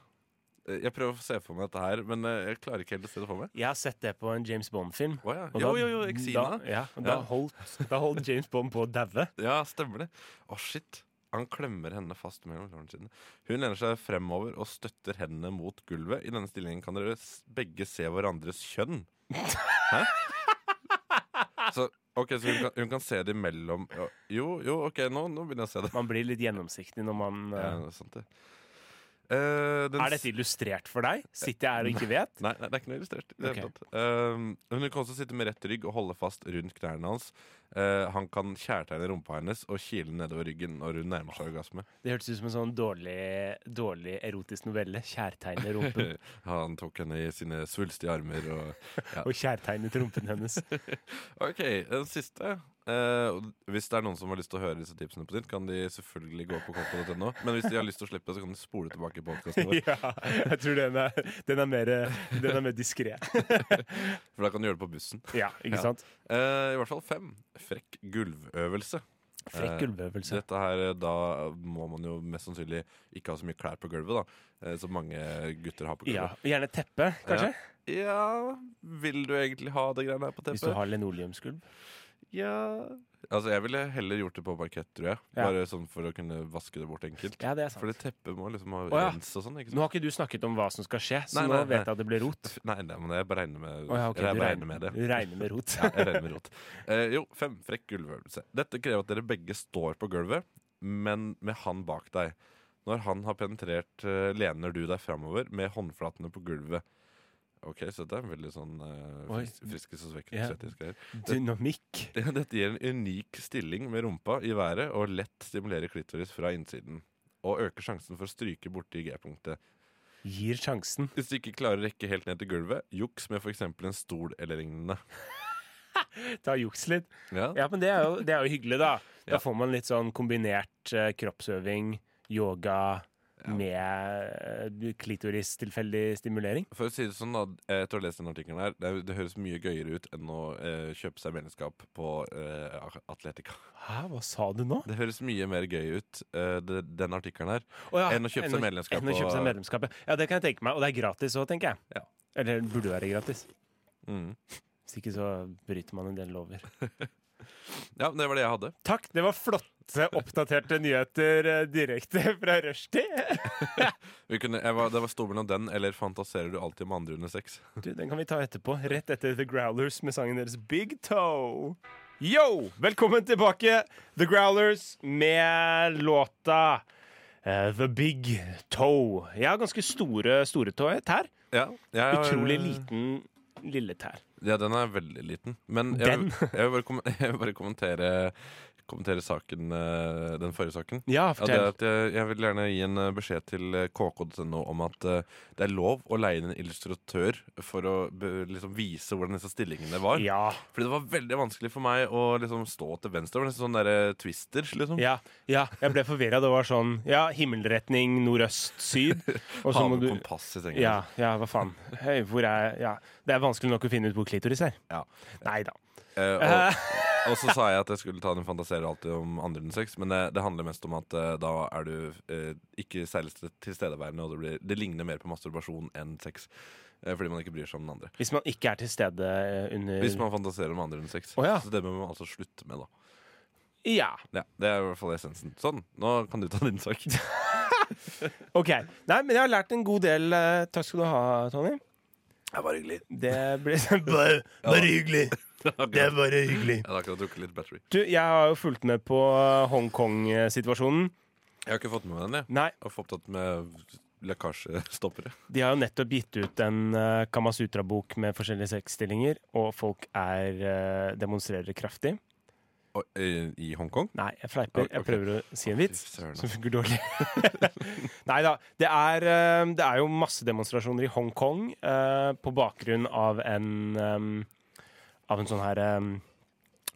Eh, Jeg prøver å se for meg dette her, men eh, jeg klarer ikke helt å se det for meg.
Jeg har sett det på en James Bond-film.
Å, ja.
Og
Jo,
da-
jo, jo, Exina.
Da, ja, og da,
Ja.
holdt, da holdt James Bond på å daue.
Ja, stemmer det. Å, shit. Han klemmer henne fast mellom lårene sine. Hun lener seg fremover og støtter hendene mot gulvet. I denne stillingen kan dere s- begge se hverandres kjønn. Hæ? Så, ok, så hun kan, hun kan se det mellom Jo, jo, ok, nå, nå begynner jeg å se det.
Man blir litt gjennomsiktig når man eh,
Ja, sant det. Eh, den
Er dette illustrert for deg? Sitter jeg her og ikke vet?
Nei, nei, det er ikke noe illustrert. i Det hele
Ok.
tatt. Ehm, hun kan også sitte med rett rygg og holde fast rundt knærne hans. Eh, han kan kjærtegne rumpa hennes og kile nedover ryggen når hun nærmer seg orgasme.
Det hørtes ut som en sånn dårlig, dårlig erotisk novelle. Kjærtegnet rumpen.
Han tok henne i sine svulstige armer og ja.
Og kjærtegnet rumpen hennes.
OK, den siste. Eh, og hvis det er noen som har lyst til å høre disse tipsene på nytt, kan de selvfølgelig gå på kokko.no. Men hvis de har lyst til å slippe, så kan de spole tilbake podkasten vår.
Ja, jeg tror den er, den er mer, den er mer diskré.
For da kan de gjøre det på bussen.
Ja, ikke
Ja.
sant?
Eh, I hvert fall fem. Frekk gulvøvelse.
Frekk gulvøvelse.
Dette her, eh, da må man jo mest sannsynlig ikke ha så mye klær på gulvet, da. eh, Som mange gutter har på
Ja,
gulvet.
Gjerne teppe, kanskje?
Ja, vil du egentlig ha det greiene her på
Hvis du
teppet?
har linoleumsgulv.
Ja Altså, jeg ville heller gjort det på parkett, tror jeg.
Ja.
Bare sånn for å kunne vaske det bort enkelt.
Ja, det er sant.
Fordi teppet må liksom ha
ja.
rens og sånn,
Nå
ikke sant?
har ikke du snakket om hva som skal skje, så
Nei,
nå
nei,
vet
nei.
jeg at det blir rot.
Nei, nei, men jeg beregner med,
Å ja, ok,
eller
du
jeg beregner med det.
Du regner med rot.
Ja, jeg regner med rot. Eh, jo, fem frekk gulvøvelse. Dette krever at dere begge står på gulvet, men med han bak deg. Når han har penetrert, eh, lener du deg framover med håndflatene på gulvet. Ok, så dette er en veldig sånn eh,
Oi.
fris- friskes og svekkes
Ja.
svettes greier.
Dynamikk.
Det- Dette gir en unik stilling med rumpa i været og lett stimulerer klitoris fra innsiden. Og øker sjansen for å stryke borti G-punktet.
Gir sjansen.
Hvis du ikke klarer å rekke helt ned til gulvet, juks med f.eks. en stol eller lignende.
Ta juks litt.
Ja,
Ja, men det er jo, det er jo hyggelig, da.
Ja.
Da får man litt sånn kombinert eh, kroppsøving, yoga med eh, klitoris-tilfeldig stimulering.
For å si det sånn da, etter å ha lest den artikkelen her, det, er- det høres mye gøyere ut enn å eh, kjøpe seg medlemskap på eh, Atletica.
Hæ, hva sa du nå?
Det høres mye mer gøy ut, eh, det, den artikkelen her,
Å ja,
enn å kjøpe seg medlemskap
enn å kjøpe
på-
seg medlemskapet. Ja, det kan jeg tenke meg. Og det er gratis òg, tenker jeg.
Ja.
Eller burde være gratis.
Mm.
Hvis ikke så bryter man en del lover.
Ja, det var det jeg hadde.
Takk, det var flotte, oppdaterte nyheter eh, direkte fra rushtid.
Vi kunne, jeg var, det var stor mellom den, eller fantaserer du alltid om andre under sex?
Du, Den kan vi ta etterpå, rett etter The Growlers med sangen deres Big Toe. Yo! Velkommen tilbake, The Growlers med låta eh, The Big Toe. Jeg har ganske store, store tå- tær.
Ja, eh, jeg har-
Utrolig liten lille tær.
Ja, den er veldig liten. Men jeg,
Den?
jeg, vil, bare kom, jeg vil bare kommentere, kommentere saken, eh, den forrige saken.
Ja,
Ja, det er
fortell.
at jeg, jeg vil gjerne gi en eh, beskjed til eh, kk.no om at eh, det er lov å leie inn en illustratør for å be- liksom, vise hvordan disse stillingene var.
Ja,
Fordi det var veldig vanskelig for meg å liksom, stå til venstre. Det var nesten sånn der, eh, twister, liksom.
ja, ja, jeg ble forvirra. Det var sånn ja, himmelretning nordøst-syd. Og
Ha
så må
med
du
kompass i senga.
ja, ja, hva faen. Hei, hvor er ja. Det er vanskelig nok å finne ut hvor klitoris er.
Ja.
Nei da.
Eh, og, og så sa jeg at jeg skulle ta den fantaserer alltid om andre enn sex, men det, det handler mest om at eh, da er du eh, ikke særlig til- tilstedeværende, og det, blir, det ligner mer på masturbasjon enn sex. eh, fordi man ikke bryr seg om den andre.
Hvis man ikke er til stede eh, under
Hvis man fantaserer om andre enn sex.
Å, ja.
Så det må man altså slutte med, da.
Ja.
Ja, det er i hvert fall essensen. Sånn, nå kan du ta din sak.
OK. Nei, men jeg har lært en god del. eh, Takk skal du ha, Tony.
Det var hyggelig.
Det blir bare, hyggelig.
Jeg
er bare hyggelig.
hadde akkurat drukket litt battery.
Du, jeg har jo fulgt med på eh, Hongkong-situasjonen.
Jeg har ikke fått med meg den, jeg.
Nei,
Jeg har fått opptatt med lekkasjestoppere.
de har jo nettopp gitt ut en eh, Kamasutra-bok med forskjellige sexstillinger, og folk er, eh, demonstrerer kraftig.
Og, eh, I Hongkong?
Nei, jeg fleiper. Jeg
Ok.
prøver å si en vits
Fy søren, altså.
som funker dårlig. Nei da. Det er, eh, det er jo massedemonstrasjoner i Hongkong eh, på bakgrunn av en eh, Av en sånn her eh,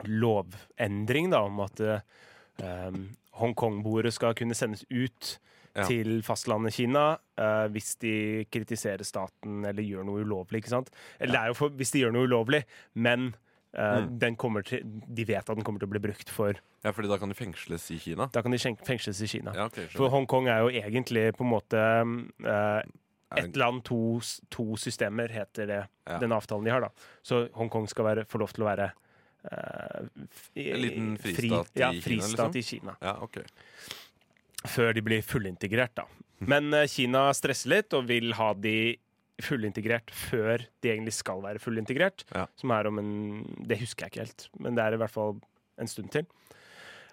lovendring, da, om at eh, Hongkong-boere skal kunne sendes ut
Ja.
til fastlandet Kina eh, hvis de kritiserer staten eller gjør noe ulovlig, ikke sant? Eller det er jo for, hvis de gjør noe ulovlig, men eh,
Mm.
den kommer til, de vet at den kommer til å bli brukt for
Ja, fordi da kan du fengsles i Kina.
da kan de skjenk- fengsles i Kina.
Ja, ok, skjønner.
For Hongkong er jo egentlig på en måte eh,
Er
Ett
det-
land, to, s- to systemer, heter det.
Ja.
Den avtalen de har, da. Så Hongkong skal være, få lov til å være eh, f-
En liten
fri-
fristat i
ja,
Kina,
fristat
liksom?
i Kina.
Ja, ok.
Før de blir fullintegrert, da. Men eh, Kina stresser litt og vil ha de fullintegrert før de egentlig skal være fullintegrert.
Ja.
Som er om en Det husker jeg ikke helt, men det er i hvert fall en stund til.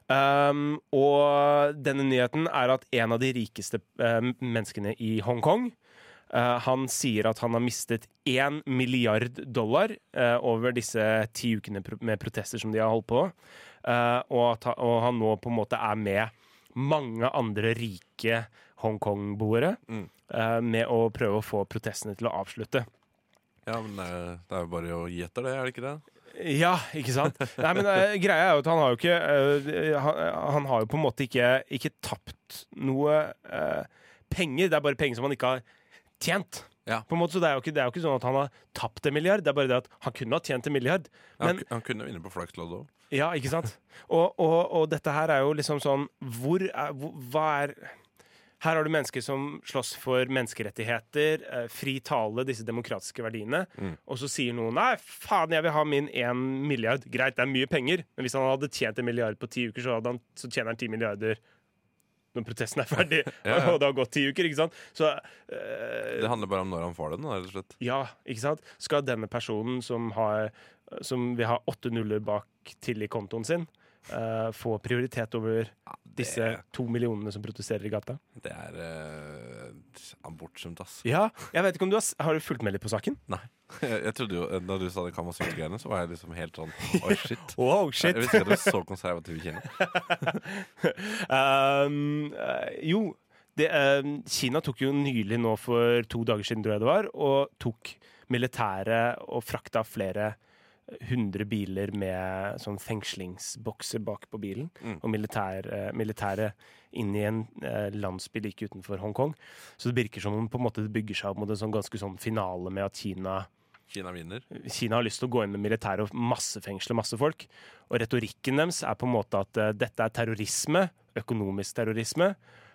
Um, og denne nyheten er at en av de rikeste eh, menneskene i Hongkong eh, Han sier at han har mistet én milliard dollar eh, over disse ti ukene pro med protester som de har holdt på. Eh, og, at, ha- og han nå på en måte er med mange andre rike Hongkong-boere
Mm.
eh, med å prøve å få protestene til å avslutte.
Ja, men det er, det er jo bare å gi etter det, er det ikke det?
Ja, ikke sant? Nei, men eh, greia er jo at han har jo ikke eh, han, han har jo på en måte ikke, ikke tapt noe eh, penger. Det er bare penger som han ikke har tjent.
Ja.
På en måte, så det er, jo ikke, det er jo ikke sånn at han har tapt en milliard, det er bare det at han kunne ha tjent en milliard.
Han,
Men-
ku- han kunne vinne på flakslodd òg.
Ja, ikke sant? Og, og, og dette her er jo liksom sånn Hvor er hvor, Hva er Her har du mennesker som slåss for menneskerettigheter, eh, fri tale, disse demokratiske verdiene,
Mm.
og så sier noen nei, faen, jeg vil ha min én milliard. Greit, det er mye penger, men hvis han hadde tjent en milliard på ti uker, så, hadde han, så tjener han ti milliarder når protesten er ferdig,
Ja, ja.
og det har gått ti uker, ikke sant? Så eh,
Det handler bare om når han får den. da, rett og slett
ja, ikke sant? Skal denne personen som, har, som vil ha åtte nuller bak til i kontoen sin, eh, få prioritet over disse to millionene som protesterer i gata?
Det er uh, abortskjemt, ass.
Ja, jeg vet ikke om du har, s- har du fulgt med litt på saken?
Nei. Jeg, jeg trodde jo, eh, Da du sa det Kamasutra-greiene, så var jeg liksom helt sånn Oi, shit.
Wow,
Jeg visste ikke at du var så konservativ i Kina.
Um, eh, jo, det, um, Kina tok jo nylig nå for to dager siden, tror jeg det var, og tok militæret og frakta flere hundre biler med sånn fengslingsbokser bak på bilen.
Mm.
Og militær, eh, militæret inn i en eh, landsby like utenfor Hongkong. Så det virker som om på en måte det bygger seg opp mot en sånn ganske sånn finale med at Kina
Kina vinner.
Kina har lyst til å gå inn med militæret og massefengsle masse folk. Og retorikken deres er på en måte at eh, dette er terrorisme, økonomisk terrorisme,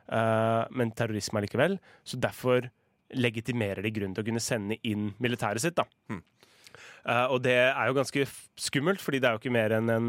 eh, men terrorisme allikevel. Så derfor legitimerer de grunn til å kunne sende inn militæret sitt, da.
Hmm.
Eh, og det er jo ganske f- skummelt, fordi det er jo ikke mer enn en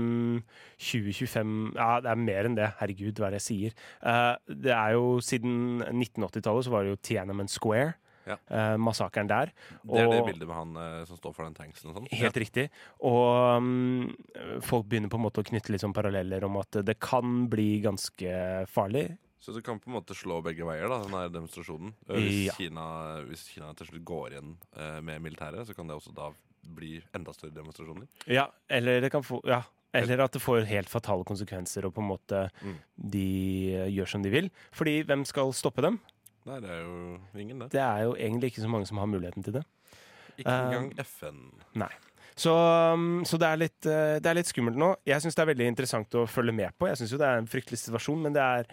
20-25 Ja, det er mer enn det. Herregud, hva er det jeg sier? Eh, det er jo siden 1980-tallet så var det jo Tiananmen Square,
Ja.
eh, massakren der.
Det er det
Og-
bildet med han eh, som står for den tanksen og sånn.
Helt riktig. Og um, folk begynner på en måte å knytte litt sånn paralleller om at det kan bli ganske farlig.
Så du kan på en måte slå begge veier, da, denne her demonstrasjonen. Eh, Hvis,
Ja.
Kina, hvis Kina til slutt går igjen eh, med militæret, så kan det også da bli enda større demonstrasjoner.
Ja, eller, det kan få, ja. eller at det får helt fatale konsekvenser, og på en måte
Mm.
de eh, gjør som de vil. Fordi hvem skal stoppe dem?
Nei, det er jo ingen, det.
Det er jo egentlig ikke så mange som har muligheten til det. Eh.
Ikke engang FN.
Så, um, så det, er litt, eh, det er litt skummelt nå. Jeg syns det er veldig interessant å følge med på. Jeg synes jo Det er en fryktelig situasjon, men det er,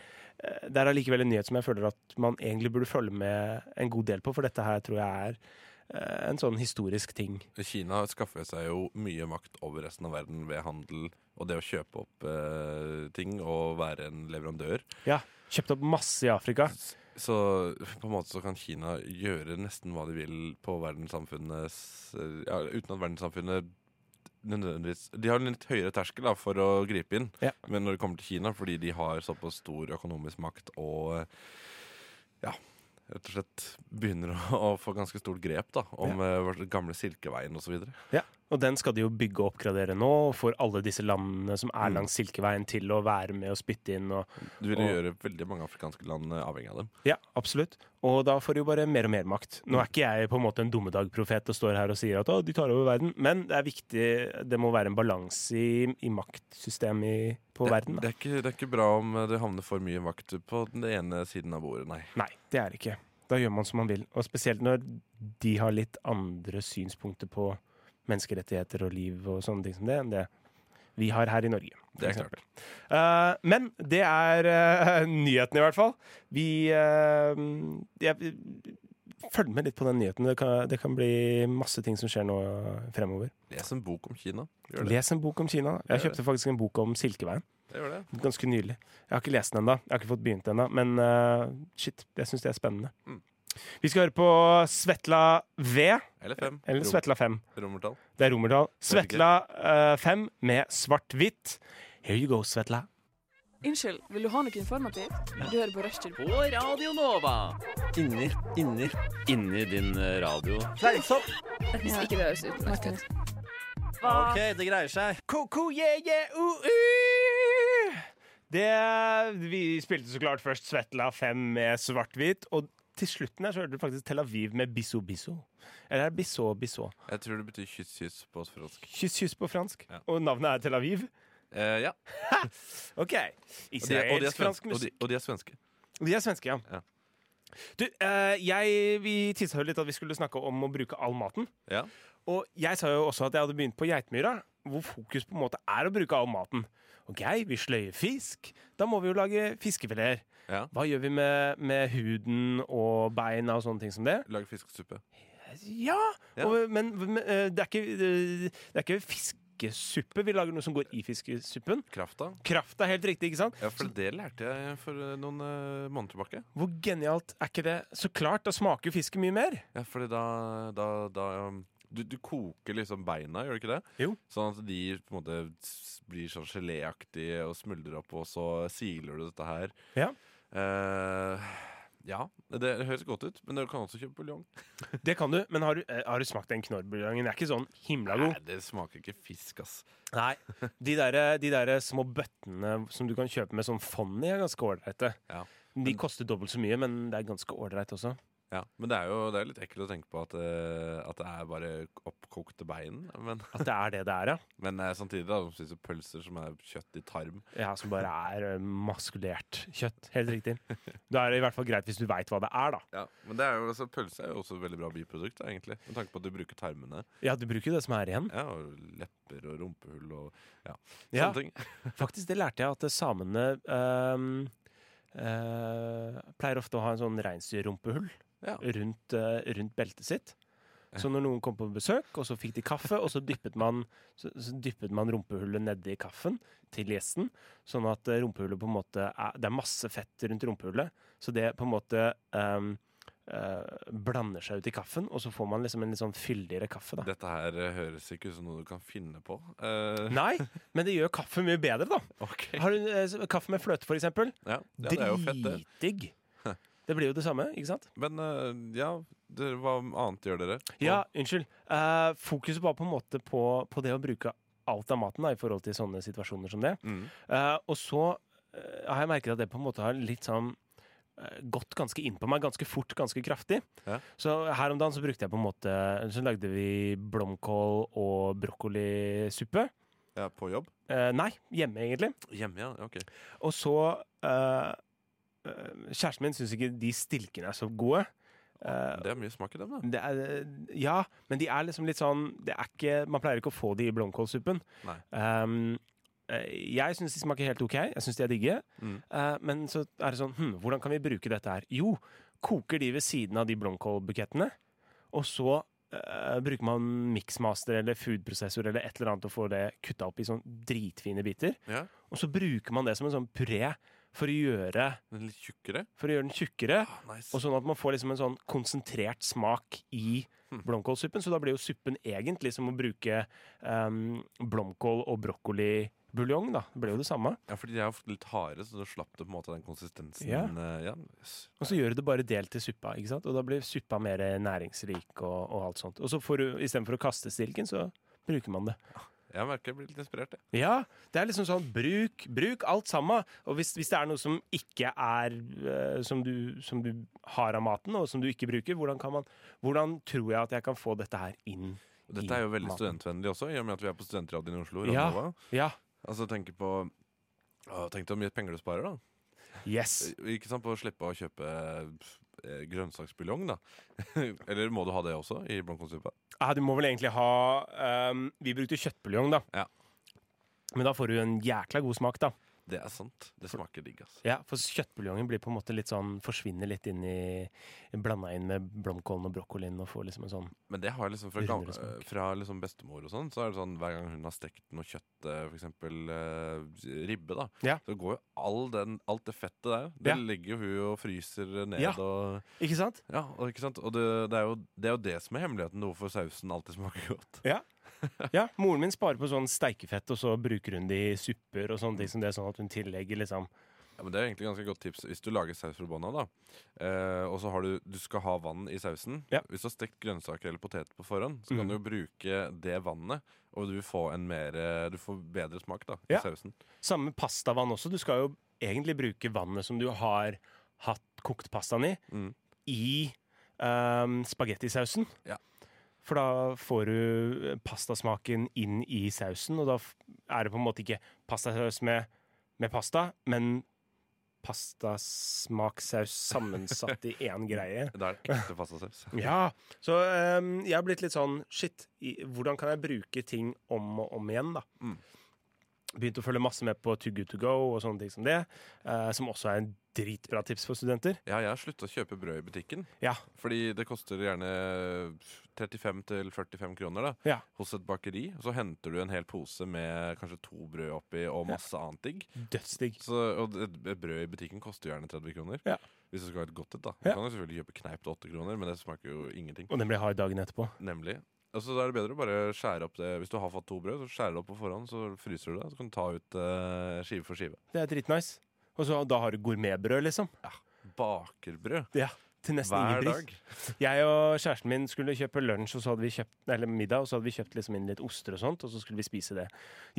eh, det er allikevel en nyhet som jeg føler at man egentlig burde følge med en god del på, for dette her tror jeg er eh, en sånn historisk ting.
Kina skaffer seg jo mye makt over resten av verden ved handel og det å kjøpe opp eh, ting og være en leverandør.
Kjøpt opp masse i Afrika.
Så på en måte så kan Kina gjøre nesten hva de vil på verdenssamfunnets eh, ja, Uten at verdenssamfunnet nødvendigvis De har en litt høyere terskel da, for å gripe inn
Ja.
Men når det kommer til Kina, fordi de har såpass stor økonomisk makt og eh, ja, rett og slett begynner å, å få ganske stort grep da, om eh, vår gamle Silkeveien osv.
Og den skal de jo bygge og oppgradere nå, og får alle disse landene som er
Mm.
langs Silkeveien til å være med og spytte inn. Og,
Du vil jo
Og-
gjøre veldig mange afrikanske land eh, avhengig av dem.
ja, absolutt. Og da får de jo bare mer og mer makt. Nå er ikke jeg på en måte en dummedagprofet og står her og sier at å, de tar over verden, men det er viktig, det må være en balanse i, i maktsystemet i- på
Det,
verden. Da.
det, er ikke, det er ikke bra om eh, det havner for mye makt på den ene siden av bordet, nei.
Nei, det er det ikke. Da gjør man som man vil. Og spesielt når de har litt andre synspunkter på menneskerettigheter og liv og sånne ting som det, enn det vi har her i Norge. for
Det er
eksempel. Eh, men det er eh, nyheten, i hvert fall. Vi eh, jeg, Følg med litt på den nyheten. Det kan, det kan bli masse ting som skjer nå fremover.
Les en bok om Kina. Gjør det.
Les en bok om Kina. Jeg
Gjør det.
kjøpte faktisk en bok om Silkeveien
det, gjør det.
ganske nylig. Jeg har ikke lest den ennå. Jeg har ikke fått begynt ennå, men eh, shit, jeg syns det er spennende.
Mm.
Vi skal høre på Svetla V,
Eller fem.
eller
Rom-
Svetla 5.
Romertall.
Det er romertall.
Vet ikke.
Svetla 5 med svart-hvitt. Here you go, Svetla.
Unnskyld, vil du ha noe informativt? Du hører på Rushtid.
på Radio Nova. Inni, inni, inni din eh, radio. Fleisopp!
Hvis ikke det høres ut Martin.
OK, det greier seg.
Ko-ko, yeah, yeah, uh, uh. Det, vi spilte så klart først Svetla 5 med svart-hvitt, og til slutten her så hørte du faktisk Tel Aviv med Bisso Bisso. Eller er det Bisso Bisso?
Jeg tror det betyr kyss, kyss på fransk.
Kyss kyss på fransk,
Ja.
og navnet er Tel Aviv.
Eh, ja.
Ok.
Og de, er- og, de er
Israelsk fransk
svenske, og, de,
musikk.
og de er svenske.
De er svenske, ja.
Ja.
Du, eh, jeg, vi tissa jo litt at vi skulle snakke om å bruke all maten.
Ja.
Og jeg sa jo også at jeg hadde begynt på Geitmyra, hvor fokus på en måte er å bruke all maten. Ok, vi sløyer fisk. Da må vi jo lage fiskefileter.
Ja.
Hva gjør vi med, med huden og beina og sånne ting som det?
Lager fiskesuppe.
Ja,
Ja.
Og, men, men eh, det, er ikke, det er ikke fiskesuppe. Vi lager noe som går i fiskesuppen.
Krafta.
Kraft er helt riktig, ikke sant?
Ja, for det lærte jeg for eh, noen eh, måneder tilbake.
Hvor genialt er ikke det? Så klart, da smaker jo fisken mye mer.
Ja, fordi da, da, da um, du, du koker liksom beina, gjør du ikke det?
Jo.
Sånn at de på en måte s- blir sånn geléaktige og smuldrer opp, og så siler du dette her.
Ja.
Eh, ja. Det høres godt ut, men du kan også kjøpe buljong.
Det kan du, men har du, eh, har du smakt den knorrbuljongen? Den er ikke sånn himla
Nei,
god.
det smaker ikke fisk, ass.
Nei. De derre de derre små bøttene som du kan kjøpe med sånn fond i, er ganske ålreite.
Ja.
De koster dobbelt så mye, men det er ganske ålreit også.
Ja, Men det er jo det er litt ekkelt å tenke på at, eh, at det er bare oppkokte bein. Men,
At det er det det er, ja.
men eh, samtidig da, de spiser pølser som er kjøtt i tarm.
ja som bare er eh, maskulert kjøtt. Helt riktig. Da er det i hvert fall greit hvis du veit hva det er, da.
Ja, men det er jo, altså, Pølse er jo også et veldig bra biprodukt, da, egentlig. Med tanke på at du bruker tarmene.
Ja, du bruker jo det som er igjen.
Ja, og Lepper og rumpehull og ja, sånne
Ja.
ting.
Faktisk, det lærte jeg at samene ehm, eh, pleier ofte å ha en sånn reinsdyrrumpehull
Ja.
rundt, eh, rundt beltet sitt. Så når noen kom på besøk, og så fikk de kaffe, og så dyppet man, så, så dyppet man rumpehullet nedi kaffen til gjesten, sånn at eh, rumpehullet på en måte er, Det er masse fett rundt rumpehullet, så det på en måte ehm, eh, blander seg ut i kaffen, og så får man liksom en litt sånn fyldigere kaffe, da.
Dette her eh, høres ikke ut som noe du kan finne på. Eh,
Nei, men det gjør kaffe mye bedre, da.
ok.
Har du eh, s- kaffe med fløte, for eksempel?
Ja, ja, det er jo fett, det.
Dritdigg. Det blir jo det samme, ikke sant?
Men eh, ja, det, hva annet gjør dere?
Ja, unnskyld. Eh, fokuset var på en måte på, på det å bruke alt av maten da, i forhold til sånne situasjoner som det.
Mm.
Eh, og så eh, har jeg merket at det på en måte har litt sånn eh, gått ganske inn på meg ganske fort, ganske kraftig.
Ja.
Så her om dagen så brukte jeg på en måte Så lagde vi blomkål og brokkolisuppe.
Ja, på jobb?
Eh, nei, hjemme, egentlig.
Hjemme, ja. Ok.
Og så eh, eh, Kjæresten min syns ikke de stilkene er så gode. Eh,
Det er mye smak i dem, da.
det er, ja, men de er liksom litt sånn det er ikke, Man pleier ikke å få de i blomkålsuppen.
Nei.
Um, eh, jeg syns de smaker helt OK. Jeg syns de er digge.
Mm.
Eh, men så er det sånn hm, Hvordan kan vi bruke dette her? Jo, koker de ved siden av de blomkålbukettene. Og så eh, bruker man miksmaster eller foodprosessor eller et eller annet og får det kutta opp i sånn dritfine biter.
Ja,
Og så bruker man det som en sånn puré for å gjøre,
den er Litt tjukkere.
for å gjøre den tjukkere.
Ah, nice.
Og sånn at man får liksom en sånn konsentrert smak i blomkålsuppen. Så da blir jo suppen egentlig som å bruke em, blomkål og brokkolibuljong, da. Det ble jo det samme.
Ja, fordi de er ofte litt harde, så du slapp du på en måte den konsistensen.
Ja.
eh, ja. Yes.
Og så gjør du det bare delt til suppa, ikke sant? og da blir suppa mer næringsrik og, og alt sånt. Og så får du, istedenfor å kaste stilken, så bruker man det.
Jeg merker jeg blir litt inspirert. Jeg.
Ja, det er liksom sånn bruk, bruk alt sammen. Og hvis, hvis det er noe som ikke er eh, som, du, som du har av maten, og som du ikke bruker, hvordan, kan man, hvordan tror jeg at jeg kan få dette her inn?
Og Dette er jo veldig
maten.
studentvennlig også, i og med at vi er på studentradioen i Oslo.
Ja.
Radionova.
Ja.
Altså, tenk på å, Tenk deg hvor mye penger du sparer, da. Eh,
Yes.
Ikke sant, På å slippe å kjøpe eh, grønnsaksbuljong, da. Eller må du ha det også i blomkålsuppa?
Ja, Ah, du må vel egentlig ha ehm, Vi brukte kjøttbuljong, da.
Ja.
Men da får du en jækla god smak, da.
Det er sant. Det smaker digg, ass.
Ja, For kjøttbuljongen blir på en måte litt sånn forsvinner litt inn i Blanda inn med blomkålen og brokkolien og får liksom en sånn
Men det har jeg liksom fra,
Rundere
gamle,
smak.
fra liksom bestemor og sånn, så er det sånn hver gang hun har stekt noe kjøtt, eh, for eksempel eh, ribbe, da,
Ja.
så går jo all den, alt det fettet der, det
Ja.
legger jo hun og fryser ned
Ja.
og
Ikke sant?
Ja, og, ikke sant? Og det, det, er jo, det er jo det som er hemmeligheten, hvorfor sausen alltid smaker godt.
Ja. ja. Moren min sparer på sånn steikefett, og så bruker hun det i supper og sånne ting som det, sånn at hun tillegger liksom
Ja, men Det er egentlig ganske godt tips hvis du lager saus robana, da. Eh, og så har du Du skal ha vann i sausen.
Ja.
Hvis du har stekt grønnsaker eller poteter på forhånd, så kan
Mhm.
du jo bruke det vannet, og du får en mer eh, Du får bedre smak da i
Ja.
sausen.
Samme pastavann også. Du skal jo egentlig bruke vannet som du har hatt kokt pastaen i,
Mm.
i ehm, spagettisausen.
Ja.
For da får du eh, pastasmaken inn i sausen, og da f- er det på en måte ikke pastasaus med, med pasta, men pastasmaksaus sammensatt i én greie.
Det er ekte pastasaus.
Ja, så ehm, jeg har blitt litt sånn Shit, i, hvordan kan jeg bruke ting om og om igjen, da?
Mm.
Begynt å følge masse med på To Good To Go og sånne ting som det. eh, som også er en dritbra tips for studenter.
Ja, jeg har slutta å kjøpe brød i butikken.
Ja,
Fordi det koster gjerne 35-45 kroner da
Ja.
hos et bakeri. Og så henter du en hel pose med kanskje to brød oppi og masse annet digg.
dødsdigg.
Så, og et et brød i butikken koster gjerne 30 kroner.
Ja.
Hvis du skal ha et godt et, da.
Ja.
Du kan jo selvfølgelig kjøpe kneip til 8 kroner, men det smaker jo ingenting.
Og den blir hard dagen etterpå.
Nemlig. Altså, da er det bedre å bare skjære opp det Hvis du har fått to brød, så skjærer du opp på forhånd, så fryser du det. Så kan du ta ut eh, skive for skive.
Det er dritnice. Og så da har du gourmetbrød, liksom.
Bakerbrød
Ja, Til nesten
hver
ingen pris.
dag.
Jeg og kjæresten min skulle kjøpe lunsj, og så hadde vi kjøpt, eller middag, og så hadde vi kjøpt liksom inn litt oster og sånt, og så skulle vi spise det.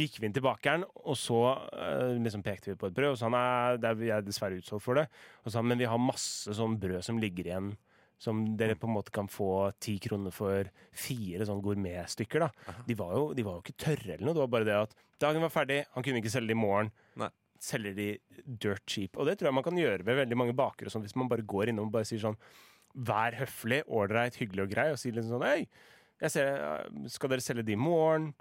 Gikk vi inn til bakeren, og så eh, liksom pekte vi på et brød, og så han er, det er, jeg er dessverre utsolgt for det. Og så sa han, men vi har masse sånn brød som ligger igjen, som dere på en måte kan få ti kroner for fire sånn gourmetstykker, da. De var, jo, de var jo ikke tørre eller noe, det var bare det at dagen var ferdig, han kunne ikke selge det i morgen.
Nei.
Selger de dirt cheap. Og det tror jeg man kan gjøre ved veldig mange bakere, og sånn, hvis man bare går innom og bare sier sånn vær høflig, ålreit, hyggelig og grei, og si litt sånn Hei, jeg ser, eh, skal dere selge de i morgen?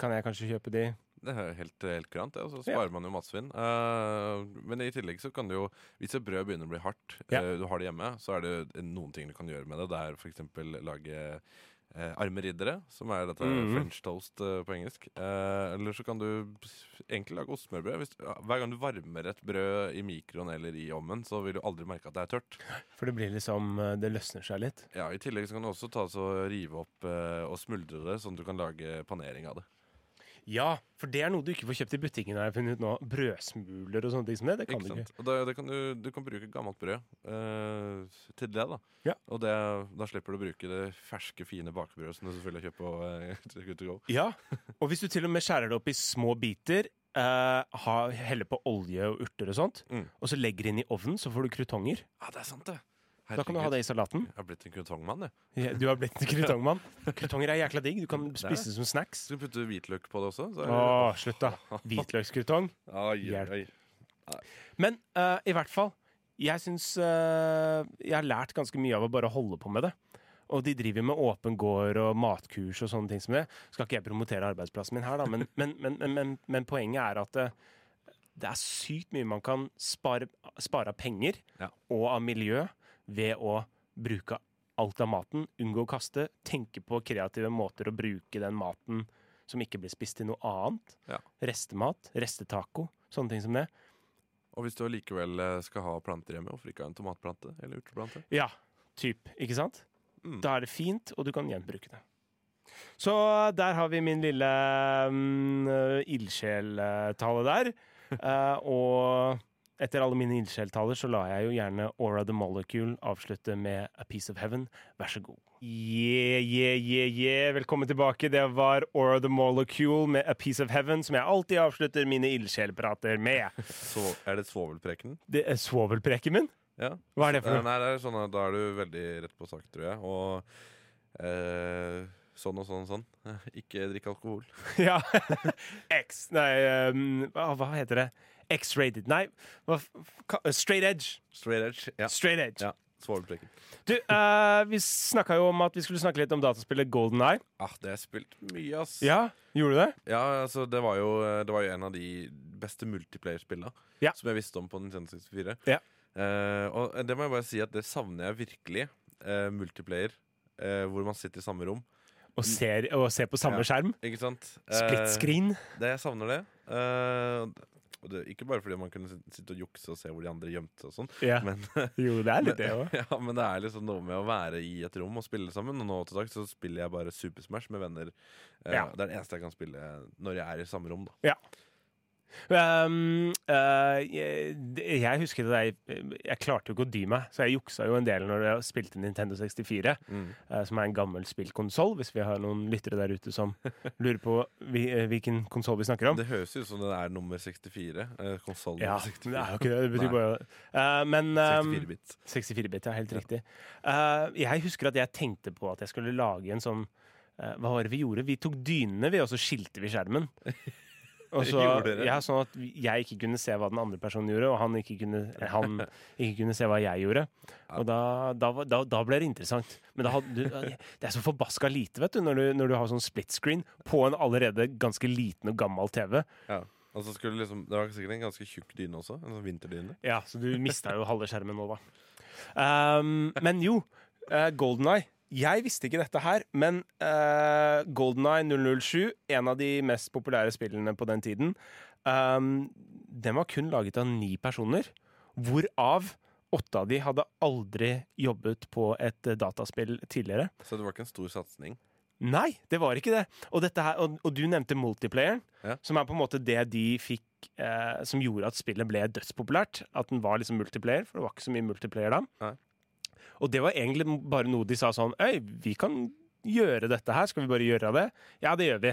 Kan jeg kanskje kjøpe de?
Det er jo helt, helt grant, det. Og så
Ja.
sparer man jo matsvinn. Eh, men i tillegg så kan du jo Hvis et brød begynner å bli hardt,
Ja.
eh, du har det hjemme, så er det noen ting du kan gjøre med det. Det er f.eks. lage eh, arme riddere, som er dette
Mhm.
french toast eh, på engelsk. Eh, eller så kan du egentlig lage ostesmørbrød. Hvis, ja, hver gang du varmer et brød i mikroen eller i ovnen, så vil du aldri merke at det er tørt.
For det blir liksom Det løsner seg litt.
Ja, I tillegg så kan du også ta så rive opp eh, og smuldre det, sånn at du kan lage panering av det.
Ja, for det er noe du ikke får kjøpt i butikken, har jeg funnet ut nå. Brødsmuler og sånne ting som det. Det kan
Ikke
du
sant?
ikke.
Og da, det kan du, du kan bruke gammelt brød eh, til det, da.
Ja.
Og det, da slipper du å bruke det ferske, fine bakebrødet som du selvfølgelig har kjøpt på eh, Good to go.
Ja, og hvis du til og med skjærer det opp i små biter, eh, ha- helle på olje og urter og sånt,
Mm.
og så legger inn i ovnen, så får du krutonger.
Ja, det er sant, det.
Da kan du ha det i salaten.
Jeg har blitt en krutongmann, jeg.
Ja, Du har blitt en krutongmann. Krutonger er jækla digg. Du kan
Det er
spise det som snacks.
Skal vi putte hvitløk på det også? Så er
Å, slutt, da. Hvitløkskrutong.
Ai, ai,
Hjelp.
ai.
Men eh, i hvert fall, jeg syns eh, Jeg har lært ganske mye av å bare holde på med det. Og de driver med åpen gård og matkurs og sånne ting som det. Skal ikke jeg promotere arbeidsplassen min her, da, men, men, men, men, men, men poenget er at eh, det er sykt mye man kan spare, spare av penger
Ja.
og av miljø ved å bruke alt av maten, unngå å kaste, tenke på kreative måter å bruke den maten som ikke blir spist til noe annet.
Ja.
Restemat, restetaco, sånne ting som det.
Og hvis du allikevel eh, skal ha planter hjemme, hvorfor ikke ha en tomatplante eller urteplante?
Ja, typ, ikke sant?
Mm.
Da er det fint, og du kan gjenbruke det. Så eh, der har vi min lille mm, ildsjeltale der. Eh, og etter alle mine ildsjeltaler så lar jeg jo gjerne Aura the Molecule avslutte med A Piece of Heaven. Vær så god. Yeah, yeah, yeah, yeah. Velkommen tilbake. Det var Aura the Molecule med A Piece of Heaven, som jeg alltid avslutter mine ildsjelprater med.
Så, er det svovelpreken?
Det er svovelpreken min?
Ja.
Hva er det
Eh,
for noe?
Nei, det er sånn at da er du veldig rett på sak, tror jeg. Og eh, sånn og sånn og sånn. Eh, Ikke drikk alkohol.
Ja. X Nei, um, hva hva heter det? X-rated. Nei, hva, f- ka- uh, straight edge.
Straight edge. Ja.
Straight edge.
ja. Svovelpreken.
Du, eh, vi snakka jo om at vi skulle snakke litt om dataspillet Golden Eye.
Ah, det har jeg spilt mye, ass.
Ja, gjorde du det?
Ja, altså det var jo, det var jo en av de beste multiplayer-spillene
Ja.
som jeg visste om på Nintendo 64.
Ja.
Eh, og det må jeg bare si at det savner jeg virkelig. eh, multiplayer eh, hvor man sitter i samme rom.
Og ser, og ser på samme
Mm. Ja.
skjerm.
Ikke sant?
Split screen.
Eh, det, jeg savner det. Eh, og det. Ikke bare fordi man kunne sit- sitte og jukse og se hvor de andre gjemte seg og sånn,
Ja.
men,
Jo, det er litt det òg.
ja, men det er liksom noe med å være i et rom og spille sammen. Og nå til dags så spiller jeg bare Super Smash med venner. Eh,
Ja.
Det er det eneste jeg kan spille når jeg er i samme rom, da.
Um, eh, jeg, jeg husker det der Jeg klarte jo ikke å dy meg, så jeg juksa jo en del når jeg spilte Nintendo 64.
Mm.
eh, som er en gammel spillkonsoll, hvis vi har noen lyttere der ute som lurer på vi, eh, hvilken konsoll vi snakker om.
Det høres ut som det er nummer 64. Eh, Konsoll
Ja,
nummer
men det er jo
64.
ikke det. Det betyr
Nei.
bare Eh, Men ehm,
64-bit.
64-bit, ja. Helt
Ja.
riktig. Eh, jeg husker at jeg tenkte på at jeg skulle lage en sånn eh, Hva var det vi gjorde? Vi tok dynene, vi, og så skilte vi skjermen. Og så,
Gjorde dere?
ja, sånn at jeg ikke kunne se hva den andre personen gjorde, og han ikke kunne, eh, han ikke kunne se hva jeg gjorde. Og da, da, var- da, da ble det interessant. Men da hadde, du, det er så forbaska lite, vet du, når du, når du har sånn split screen på en allerede ganske liten og gammel TV.
Ja. Og så skulle liksom, det var sikkert en ganske tjukk dyne også. En sånn vinterdyne.
Ja, så du mista jo halve skjermen nå, da. Um, men jo, Golden Eye. Jeg visste ikke dette her, men eh, Golden Eye 007, en av de mest populære spillene på den tiden, um, den var kun laget av ni personer. Hvorav åtte av de hadde aldri jobbet på et eh, dataspill tidligere.
Så det var ikke en stor satsing.
Nei, det var ikke det. Og, dette her, og, og du nevnte multiplayeren,
Ja.
som er på en måte det de fikk eh, som gjorde at spillet ble dødspopulært. At den var liksom multiplayer, for det var ikke så mye multiplayer da.
Nei.
Og det var egentlig bare noe de sa sånn Øy, vi kan gjøre dette her, skal vi bare gjøre det? Ja, det gjør vi.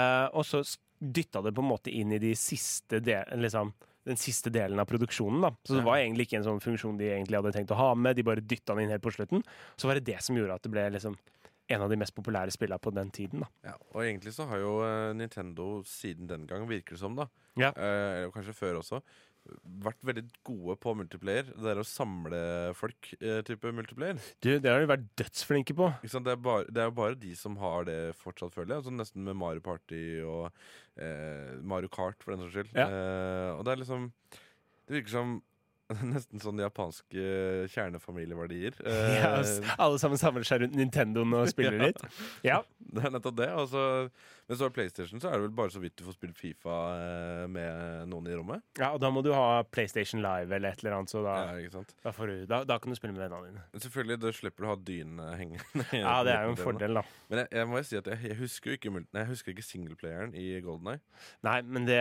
Eh, og så s- dytta det på en måte inn i de siste del, liksom, den siste delen av produksjonen. da. Så det var egentlig ikke en sånn funksjon de egentlig hadde tenkt å ha med, de bare dytta den inn helt på slutten. Så var det det som gjorde at det ble liksom en av de mest populære spillene på den tiden. da.
Ja, og egentlig så har jo eh, Nintendo siden den gang, virker det som, da,
Ja.
eh, eller kanskje før også, vært veldig gode på multiplayer. Det der å samle folk-type multiplayer.
Du, det har de vært dødsflinke på.
Ikke sant? Det, er bare, det er jo bare de som har det fortsatt, føler jeg. Altså, nesten med Mario Party og eh, Mario Kart, for den saks skyld.
Ja.
Eh, og det er liksom Det virker som nesten sånn japanske kjernefamilieverdier. Eh,
Ja, altså. s- alle sammen samler seg rundt Nintendoen og spiller
Ja.
litt. Ja,
Det er nettopp det. Og så- men så er PlayStation, så er det vel bare så vidt du får spilt Fifa eh, med noen i rommet.
ja, og da må du ha PlayStation Live eller et eller annet, så da,
Ja, ikke sant?
da, får du, da, da kan du spille med vennene dine.
Selvfølgelig, da slipper du å ha dynene hengende.
Ja, det er jo en
utenpå tennene.
fordel, da.
Men jeg, jeg må jo si at jeg, jeg husker jo ikke, mul- nei, jeg husker ikke singleplayeren i Golden Eye.
Nei, men det,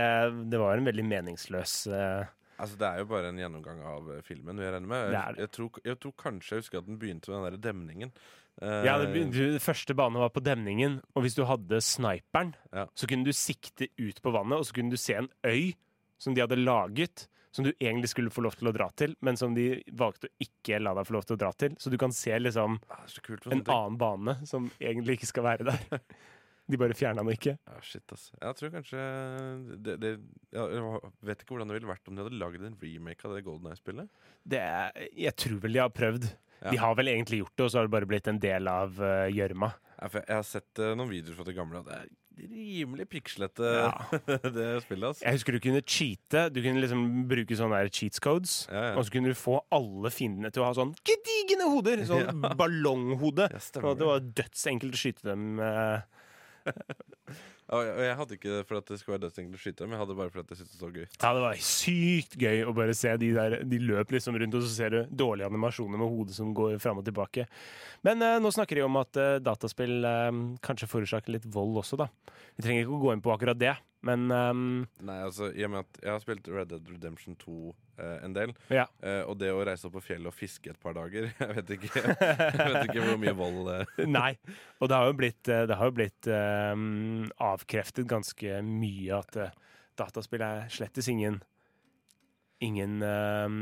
det var en veldig meningsløs eh,
Altså, det er jo bare en gjennomgang av eh, filmen vi regner med.
Det
Jeg,
er det.
jeg, tror, jeg tror kanskje jeg husker at den begynte med den der demningen. Eh,
Ja, det, du, første bane var på demningen, og hvis du hadde sniperen,
Ja.
så kunne du sikte ut på vannet, og så kunne du se en øy som de hadde laget, som du egentlig skulle få lov til å dra til, men som de valgte å ikke la deg få lov til å dra til. Så du kan se liksom
ah, det er så kult med
en
sånne ting.
annen bane som egentlig ikke skal være der. De bare fjerna den ikke.
Ja, shit, ass. Jeg tror kanskje eh, det, det, ja, Jeg vet ikke hvordan det ville vært om de hadde lagd en remake av det Golden Eye-spillet.
Det er, jeg tror vel de har prøvd.
Ja.
De har vel egentlig gjort det, og så har det bare blitt en del av eh, gjørma.
Ja, for jeg, jeg har sett eh, noen videoer fra det gamle, og det er rimelig pikslete, det spillet. ass.
Jeg husker du kunne cheate. Du kunne liksom bruke sånne der cheats codes.
Ja, ja.
Og så kunne du få alle fiendene til å ha sånn gedigne hoder! Sånn ballonghode.
Ja, stemmer
og det var dødsenkelt å skyte dem. eh,
Ja, Og jeg, og jeg hadde ikke det for at det skulle være dødsenkelt å skyte, men jeg hadde bare for at jeg syntes det var gøy.
Ja, det var sykt gøy å bare se de der De løp liksom rundt, og så ser du dårlige animasjoner med hodet som går fram og tilbake. Men eh, nå snakker de om at eh, dataspill eh, kanskje forårsaker litt vold også, da. Vi trenger ikke å gå inn på akkurat det, men eh,
Nei, altså, i og med at jeg har spilt Red Dead Redemption 2 eh, en del,
ja.
eh, og det å reise opp på fjellet og fiske et par dager Jeg vet ikke, jeg vet ikke hvor mye vold eh.
Nei. Og det har jo blitt, eh, det har jo blitt eh, avkreftet ganske mye at eh, dataspill er slettes ingen Ingen eh,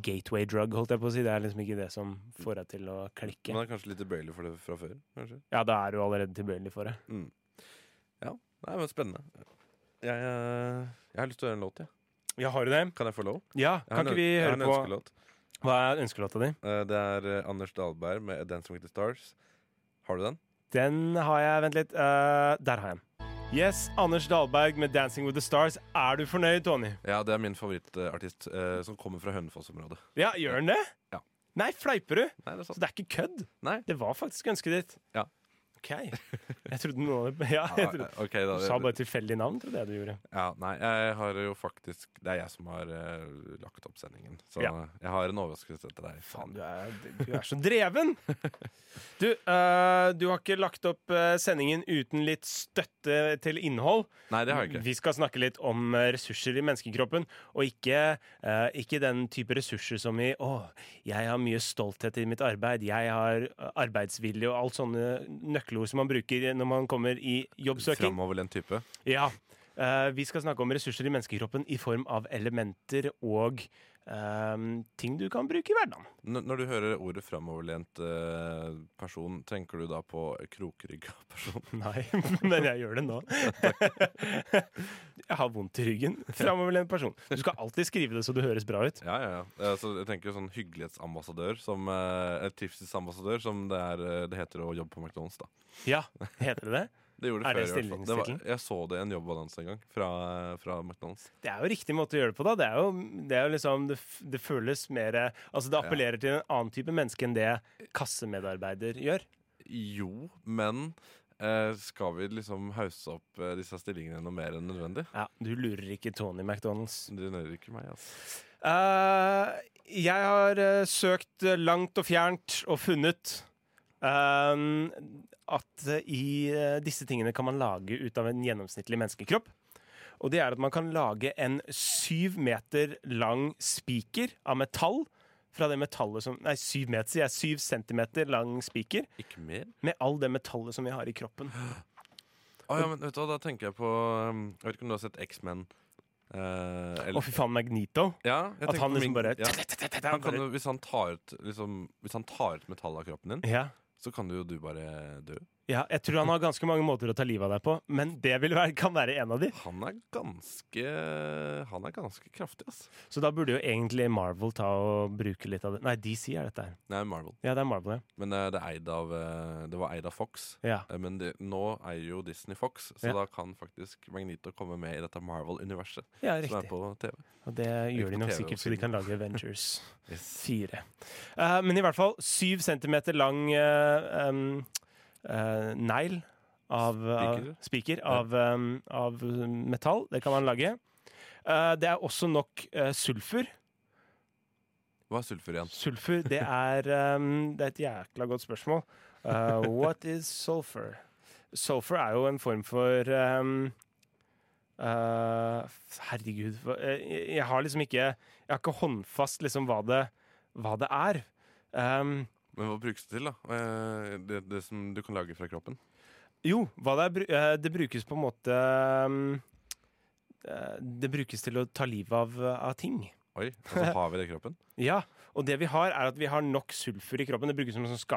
gateway drug, holdt jeg på å si. Det er liksom ikke det som får deg til å klikke.
Man er kanskje litt tilbøyelig for det fra før, kanskje.
Ja, da er du allerede tilbøyelig for det.
Nei, men spennende. Jeg, eh, jeg har lyst til å høre en låt, jeg.
Ja, har du det?
Kan jeg få lov?
Ja,
Jeg har
Kan
en-
ikke vi
jeg har
høre
en
på
ønskelåt.
Hva er ønskelåta di?
Eh, Det er eh, Anders Dahlberg med 'A 'Dancing with the Stars'. Har du den?
Den har jeg Vent litt. eh, der har jeg den. Yes, Anders Dahlberg med 'Dancing with the Stars'. Er du fornøyd, Tony?
Ja, det er min favorittartist eh, som kommer fra Hønefoss-området.
Ja, gjør han det?
Ja.
Nei, fleiper du?
Nei, det er sant.
Så det er ikke kødd?
Nei.
Det var faktisk ønsket ditt?
Ja.
OK. Jeg trodde noen av det Ja, jeg trodde
Ah, ok, da,
Du sa bare tilfeldig navn, trodde jeg du gjorde.
ja, Nei, jeg har jo faktisk Det er jeg som har eh, lagt opp sendingen. Så
Ja.
jeg har en overraskelse til deg.
Faen, du er, du er så dreven! Du, eh, du har ikke lagt opp eh, sendingen uten litt støtte til innhold.
Nei, det har jeg ikke.
Vi skal snakke litt om eh, ressurser i menneskekroppen, og ikke, eh, ikke den type ressurser som i 'Å, jeg har mye stolthet i mitt arbeid', 'jeg har eh, arbeidsvilje' og alt sånne nøkkelord som man bruker når man kommer i jobbsøking.
Framoverlent type.
Ja. Eh, vi skal snakke om ressurser i menneskekroppen i form av elementer og eh, ting du kan bruke i hverdagen.
N når du hører ordet 'framoverlent eh, person', tenker du da på krokrygga person?
Nei, men jeg gjør det nå. jeg har vondt i ryggen. Framoverlent person. Du skal alltid skrive det så du høres bra ut.
Ja, ja, ja. Eh, Så jeg tenker jo sånn hyggelighetsambassadør som eh, et trivselsambassadør, som det, er, eh, det heter å jobbe på McDonald's, da.
Ja, heter det det?
Det gjorde det
Er det
før, i hvert fall. Det var,
stillingstittelen?
jeg så det i en jobbannonse en gang, fra, fra McDonald's.
Det er jo riktig måte å gjøre det på, da. Det, er jo, det, er jo liksom, det, f- det føles mer Altså, det appellerer til en annen type menneske enn det kassemedarbeider gjør.
Jo, men eh, skal vi liksom hausse opp eh, disse stillingene noe mer enn nødvendig?
Ja, Du lurer ikke Tony McDonald's.
Du nøyer ikke meg, altså.
Eh, jeg har eh, søkt eh, langt og fjernt og funnet ehm, at eh, i eh, disse tingene kan man lage ut av en gjennomsnittlig menneskekropp. Og det er at man kan lage en syv meter lang spiker av metall. Fra det metallet som Nei, syv meter, sier jeg. Syv centimeter lang spiker.
Ikke mer?
Med all det metallet som vi har i kroppen.
Å ja, men vet du hva, da tenker jeg på um, Jeg vet ikke om du har sett X-Men? eh,
Å,
eller
fy faen, Magnito.
ja, jeg
At
tenker
han
på
liksom
min-
bare
ja. han kan, jo- hvis, han tar ut, liksom, hvis han tar ut metall av kroppen din,
ja.
så kan jo du bare dø.
ja, jeg tror han har ganske mange måter å ta livet av deg på, men det vil være, kan være en av de.
Han er ganske Han er ganske kraftig, ass.
Så da burde jo egentlig Marvel ta og bruke litt av det. Nei, DC er dette her.
Nei, Marvel.
Ja, det er Marvel, ja.
Men eh, det, er eid av, eh, det var eid av Fox.
ja.
Eh, Men det, nå eier jo Disney Fox, så
Ja.
da kan faktisk Magnito komme med i dette Marvel-universet
Ja,
som er
riktig.
på TV.
Og det gjør
på
de nok
TV og
sikkert, så de
film.
kan lage Avengers
Yes.
4. Eh, men i hvert fall syv centimeter lang eh, um, eh, negl av av-
Spiker.
Spiker av, um, av metall. Det kan man lage. Eh, det er også nok eh, sulfur.
Hva er sulfur igjen?
Sulfur, det er, um, det er et jækla godt spørsmål. Uh, what is sulfur? Sulfur er jo en form for um, Eh, herregud. hva- eh, Jeg jeg har liksom ikke Jeg har ikke håndfast liksom hva det, hva det er. Ehm,
Men hva brukes det til, da? Eh, Det, det som du kan lage fra kroppen?
jo, hva det, er, bru- eh, det brukes på en måte ehm, eh, Det brukes til å ta livet av, av ting.
Oi, altså har vi det i kroppen?
Ja, og det vi har, er at vi har nok sulfur i kroppen. Det brukes som en sånn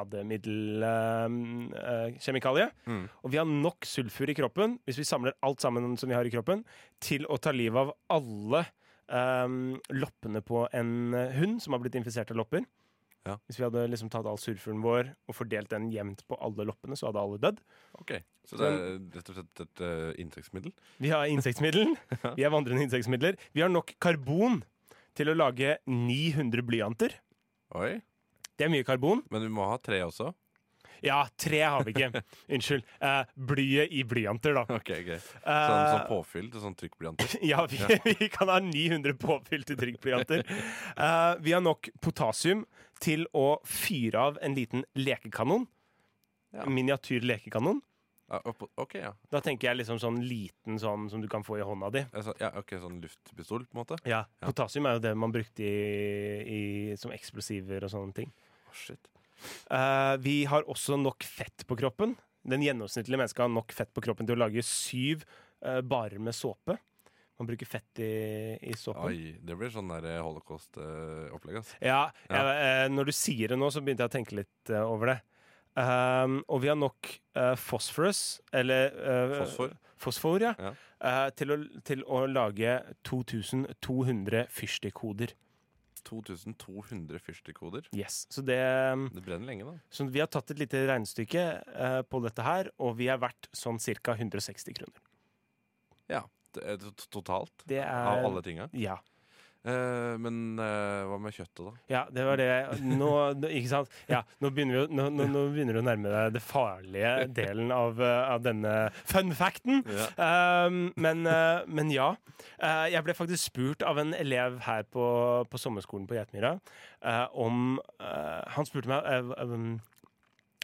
skademiddelkjemikalie.
Mm.
ehm, eh, Og vi har nok sulfur i kroppen, hvis vi samler alt sammen som vi har i kroppen, til å ta livet av alle ehm, loppene på en hund som har blitt infisert av lopper.
Ja.
Hvis vi hadde liksom tatt all sulfuren vår og fordelt den jevnt på alle loppene, så hadde alle dødd.
Ok, Så det er rett og slett et eh, insektmiddel?
Vi har insektmiddel. Vi er vandrende insektmidler. Vi har nok karbon til å lage 900 blyanter.
Oi.
Det er mye karbon.
Men vi må ha tre også?
Ja, tre har vi ikke. Unnskyld. Eh, blyet i blyanter, da.
Ok, greit. Sånn,
Eh,
sånn påfyll til sånn trykkblyanter?
ja, vi, vi kan ha 900 påfylte trykkblyanter. Eh, vi har nok potasium til å fyre av en liten lekekanon.
Ja.
Miniatyr lekekanon.
Ja, opp- ok, ja.
Da tenker jeg liksom sånn liten sånn som du kan få i hånda di.
Jeg sa- ja. Ok, sånn luftpistol, på en måte?
Ja,
Ja.
Potasium er jo det man brukte i, i, som eksplosiver og sånne ting.
Å, shit.
Eh, vi har også nok fett på kroppen. Den gjennomsnittlige mennesket har nok fett på kroppen til å lage syv eh, barer med såpe. Man bruker fett i, i såpen.
Oi, det blir sånn der holocaust-opplegg, ass.
Ja,
Ja.
jeg, eh, Når du sier det nå, så begynte jeg å tenke litt eh, over det. Ehm, og vi har nok eh, phosphorus, eller eh,
Fosfor?
fosfor, ja,
Ja.
eh, til, å, til å lage 2200 fyrstikkhoder.
2200 fyrstikkoder.
Yes. Så det
Det brenner lenge, da.
Så vi har tatt et lite regnestykke eh, på dette her, og vi er verdt sånn ca. 160 kroner.
Det er t- Totalt.
Det er
Av alle tinga.
Ja.
Eh, men eh, hva med kjøttet, da?
ja, det var det jeg- Nå, nå- ikke sant? Ja, nå begynner, vi, å- nå, nå, nå begynner du å nærme deg det farlige delen av, eh, av denne fun facten. Um, men, eh, men ja. Eh, jeg ble faktisk spurt av en elev her på, på sommerskolen på Geitmyra eh, om eh, Han spurte meg eh, um,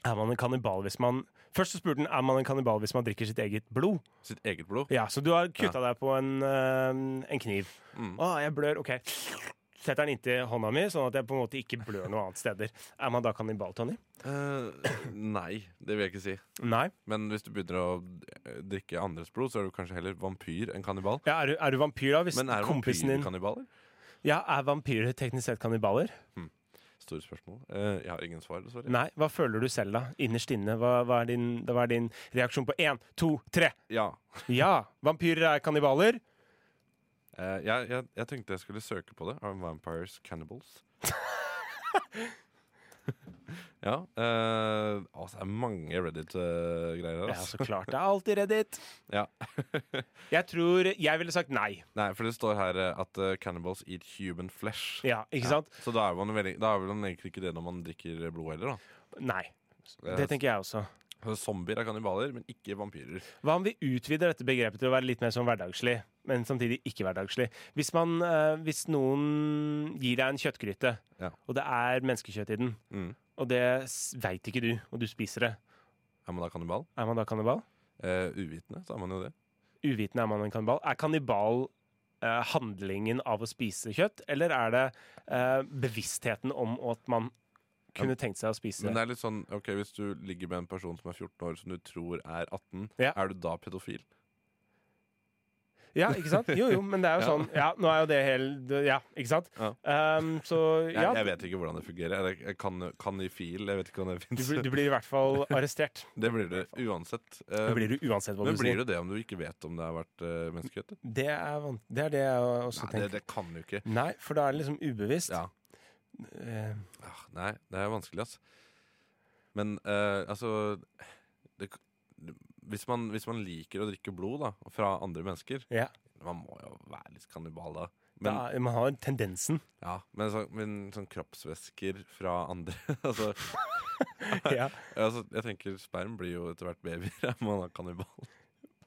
Er man en kannibal hvis man Først så spurte han er man en kannibal hvis man drikker sitt eget blod.
Sitt eget blod?
Ja, Så du har kutta deg på en, eh, en kniv.
Mm.
Å, jeg blør. OK. Setter den inntil hånda mi, sånn at jeg på en måte ikke blør noe annet steder. Er man da kannibal, Tony?
Eh, nei, det vil jeg ikke si.
Nei.
Men hvis du begynner å eh, drikke andres blod, så er du kanskje heller vampyr enn kannibal.
Ja, er, du, er du vampyr, da? Hvis
Men er
kompisen
vampyrer
din
kannibaler?
Ja, Er vampyrer teknisk sett kannibaler?
Store spørsmål. Eh, jeg har ingen svar, dessverre.
Nei. Hva føler du selv, da? Innerst inne. Hva, hva, er, din, hva er din reaksjon på én, to, tre?
Ja.
Ja! Vampyrer er kannibaler.
Eh, jeg, jeg, jeg tenkte jeg skulle søke på det. Are vampires cannibals? ja. eh, altså, det er mange Reddit-greier her.
Ja,
Altså.
så klart. Det er alltid Reddit.
Ja.
Jeg tror Jeg ville sagt nei.
Nei, for det står her eh, at eh, cannibals eat human flesh.
Ja, ikke
Ja,
sant?
Så da er, man veldig, da er vel man egentlig ikke det når man drikker eh, blod heller, da.
Nei.
Eh,
Det tenker jeg også.
så Zombier er kannibaler, men ikke vampyrer.
Hva om vi utvider dette begrepet til å være litt mer sånn hverdagslig, men samtidig ikke hverdagslig? Hvis, man, eh, hvis noen gir deg en kjøttgryte,
Ja.
og det er menneskekjøtt i den,
Mm.
og det s- veit ikke du, og du spiser det,
Er man da kannibal?
er man da kannibal?
Eh, uvitende, så er man jo det.
Uvitende er man en kannibal. Er kannibal eh, handlingen av å spise kjøtt, eller er det eh, bevisstheten om at man kunne tenkt seg å spise
Men
det?
det er litt sånn, ok, hvis du ligger med en person som er 14 år, som du tror er 18,
Ja.
er du da pedofil?
Ja, ikke sant? Jo, jo, men det er jo
Ja.
sånn. Ja, nå er jo det helt Ja, ikke sant?
Ja.
Ehm, så
Jeg,
ja.
jeg vet ikke hvordan det fungerer. Jeg, jeg kan, kanifil, jeg vet ikke om det
Du,
fins.
blir- du blir i hvert fall arrestert.
Det blir det uansett. Eh,
Det blir du uansett hva
men
du sier.
blir det det om du ikke vet om det har vært uh, menneskekjøtt?
Det er, van- det er det jeg også
Nei, det,
tenker.
det kan du ikke.
Nei, for da er det liksom ubevisst.
Ja.
Eh,
Ah, Nei, det er vanskelig, ass. Men eh, altså det, hvis, man, hvis man liker å drikke blod da, fra andre mennesker
ja.
Man må jo være litt kannibal da. Men,
Da er- man har tendensen.
ja, men, sånn- men sånn kroppsvæsker fra andre altså,
Ja.
altså, Jeg tenker sperm blir jo etter hvert babyer. Er man da kannibal?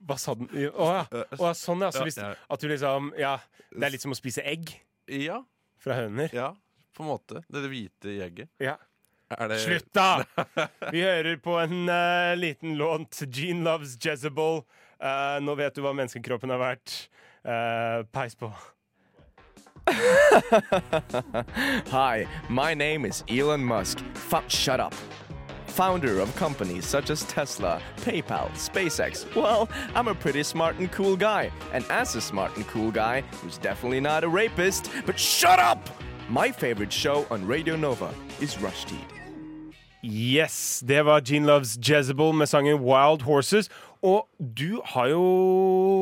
Hva sa den Å ja. Å, ja, sånn, ja. Så hvis,
Ja,
at du liksom Ja, det er litt som å spise egg
ja,
fra høner.
ja, på en måte. Det er det hvite i egget.
Ja.
Er det,
Slutt, da! Vi hører på en eh, liten lånt. Gene loves Jezebel. Eh, nå vet du hva menneskekroppen har vært. Eh, peis på.
Hi, my name is Elon Musk. Fuck, shut up. Founder of companies such as Tesla, PayPal, SpaceX. Well, I'm a pretty smart and cool guy. And as a smart and cool guy, who's definitely not a rapist, but shut up! My favorite show on Radio Nova is Rush Teed.
Yes, det var Gene Loves Jezebel med sangen Wild Horses. Og du har jo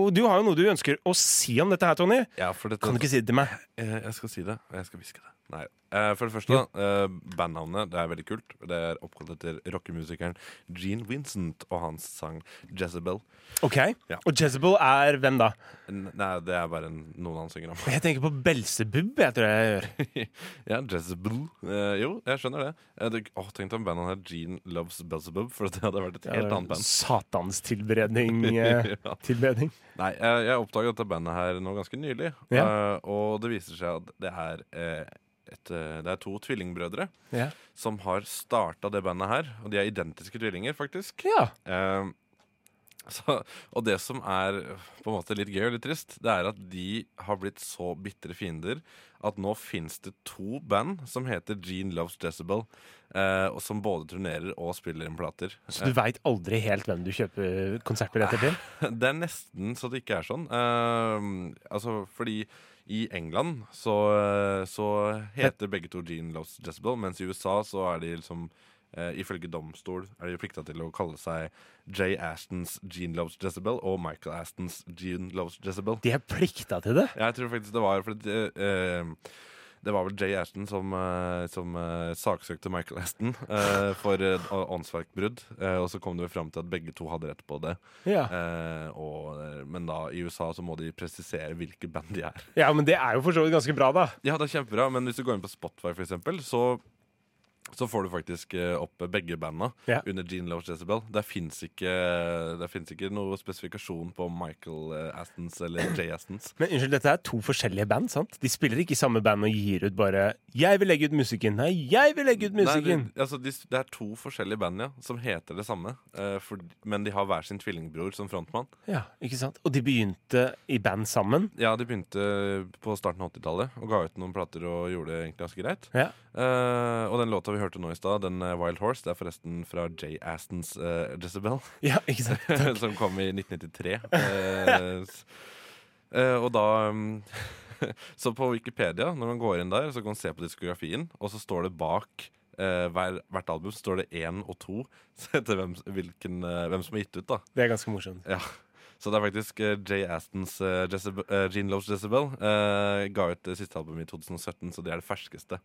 Du har jo noe du ønsker å si om dette her, Tony.
Ja, for dette,
Kan du ikke si det til meg?
Eh, Jeg skal si det, og jeg skal hviske det. Nei. Eh, For det første, da, eh, bandnavnet det er veldig kult. Det er oppkalt etter rockemusikeren Gene Vincent og hans sang 'Jezebel'.
Ok,
Ja.
Og Jezebel er hvem da?
N- Nei, det er bare en, noen han synger om.
Jeg tenker på Belsebub. Jeg tror jeg gjør
ja, Jezebel. Eh, jo, jeg skjønner det. Eh, det åh, tenk om bandet het Gene Loves Belzebub, for det hadde vært et helt annet band.
Satanstilberedning. eh,
Ja.
Tilberedning.
Nei, jeg, jeg oppdaga dette bandet her nå ganske nylig,
Ja.
eh, og det viser seg at det er, eh, et, eh, det er to tvillingbrødre
Ja.
som har starta det bandet her. Og de er identiske tvillinger, faktisk.
ja.
Eh, så, og det som er på en måte litt gøy og litt trist, det er at de har blitt så bitre fiender at nå fins det to band som heter Gene Loves Jezebel, eh, og som både turnerer og spiller inn plater.
Så du veit aldri helt hvem du kjøper konsertbilletter til?
Det er nesten så det ikke er sånn. Eh, altså, fordi i England så, så heter begge to Gene Loves Jezebel, mens i USA så er de liksom eh, Ifølge domstol er de plikta til å kalle seg Jay Astons Gene Loves Jezebel og Michael Astons Gene Loves Jezebel.
De er plikta til det.
Jeg tror faktisk det var fordi eh, det var vel Jay Ashton som, eh, som eh, saksøkte Michael Ashton eh, for eh, å- åndsverkbrudd. Eh, og så kom det vel fram til at begge to hadde rett på det.
Ja.
Eh, og, eh, men da i USA så må de presisere hvilke band de er.
ja, men det er jo for så vidt ganske bra, da.
Ja, det er kjempebra, men hvis du går inn på Spotify, for eksempel, så så får du faktisk eh, opp begge banda
Ja.
under Gene Loves Jezebel. Der fins ikke, der finnes ikke noe spesifikasjon på Michael eh, Astons eller Jay Astons.
Men unnskyld, dette er to forskjellige band, sant? De spiller ikke i samme band og gir ut bare 'Jeg vil legge ut musikken', 'Nei, jeg vil legge ut musikken'.
Nei, det, altså, de, det er to forskjellige band ja, som heter det samme, eh, for, men de har hver sin tvillingbror som frontmann.
Ja, ikke sant? Og de begynte i band sammen.
Ja, De begynte på starten av 80-tallet og ga ut noen plater og gjorde det egentlig ganske greit.
Ja.
Eh, og den låta vi hørte nå i stad, den eh, Wild Horse, det er forresten fra Jay Astons eh, Jezebel,
ja, ikke sant?
som kom i 1993. Eh, s- eh, og da mm, Så på Wikipedia, når man går inn der, så kan man se på diskografien, og så står det bak eh, hver, hvert album står det én og to så etter hvem, hvilken, eh, hvem som er gitt ut, da.
Det er ganske morsomt.
Ja. Så det er faktisk eh, Jay Astons eh, Jezebel, eh, Gene Loves Jezebel eh, ga ut det siste albumet i 2017, så det er det ferskeste.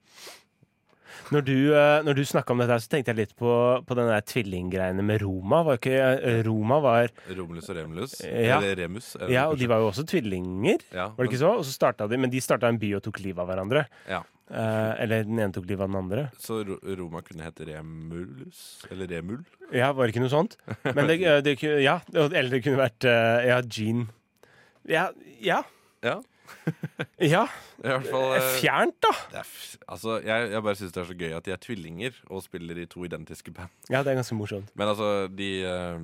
Når du, eh, når du snakka om dette, her, så tenkte jeg litt på, på den der tvillinggreiene med Roma. Var ikke, eh, Roma var
Romulus og Remulus.
Ja.
Eller Remus. er det
Ja, og
kanskje.
de var jo også tvillinger.
Ja,
Var det ikke så? Og så starta de, men de starta en by og tok livet av hverandre.
Ja.
Eh, eller den ene tok livet av den andre.
Så Ro- Roma kunne hete Remulus? Eller Remul?
Ja, var det ikke noe sånt? Men det, eh, det, ku- ja, eller det kunne vært eh, Ja, Jean. Ja. Ja.
Ja.
ja.
I hvert fall eh,
Fjernt, da!
det er f altså, jeg, jeg bare syns det er så gøy at de er tvillinger og spiller i to identiske band.
Ja, det er ganske morsomt.
Men altså, de eh,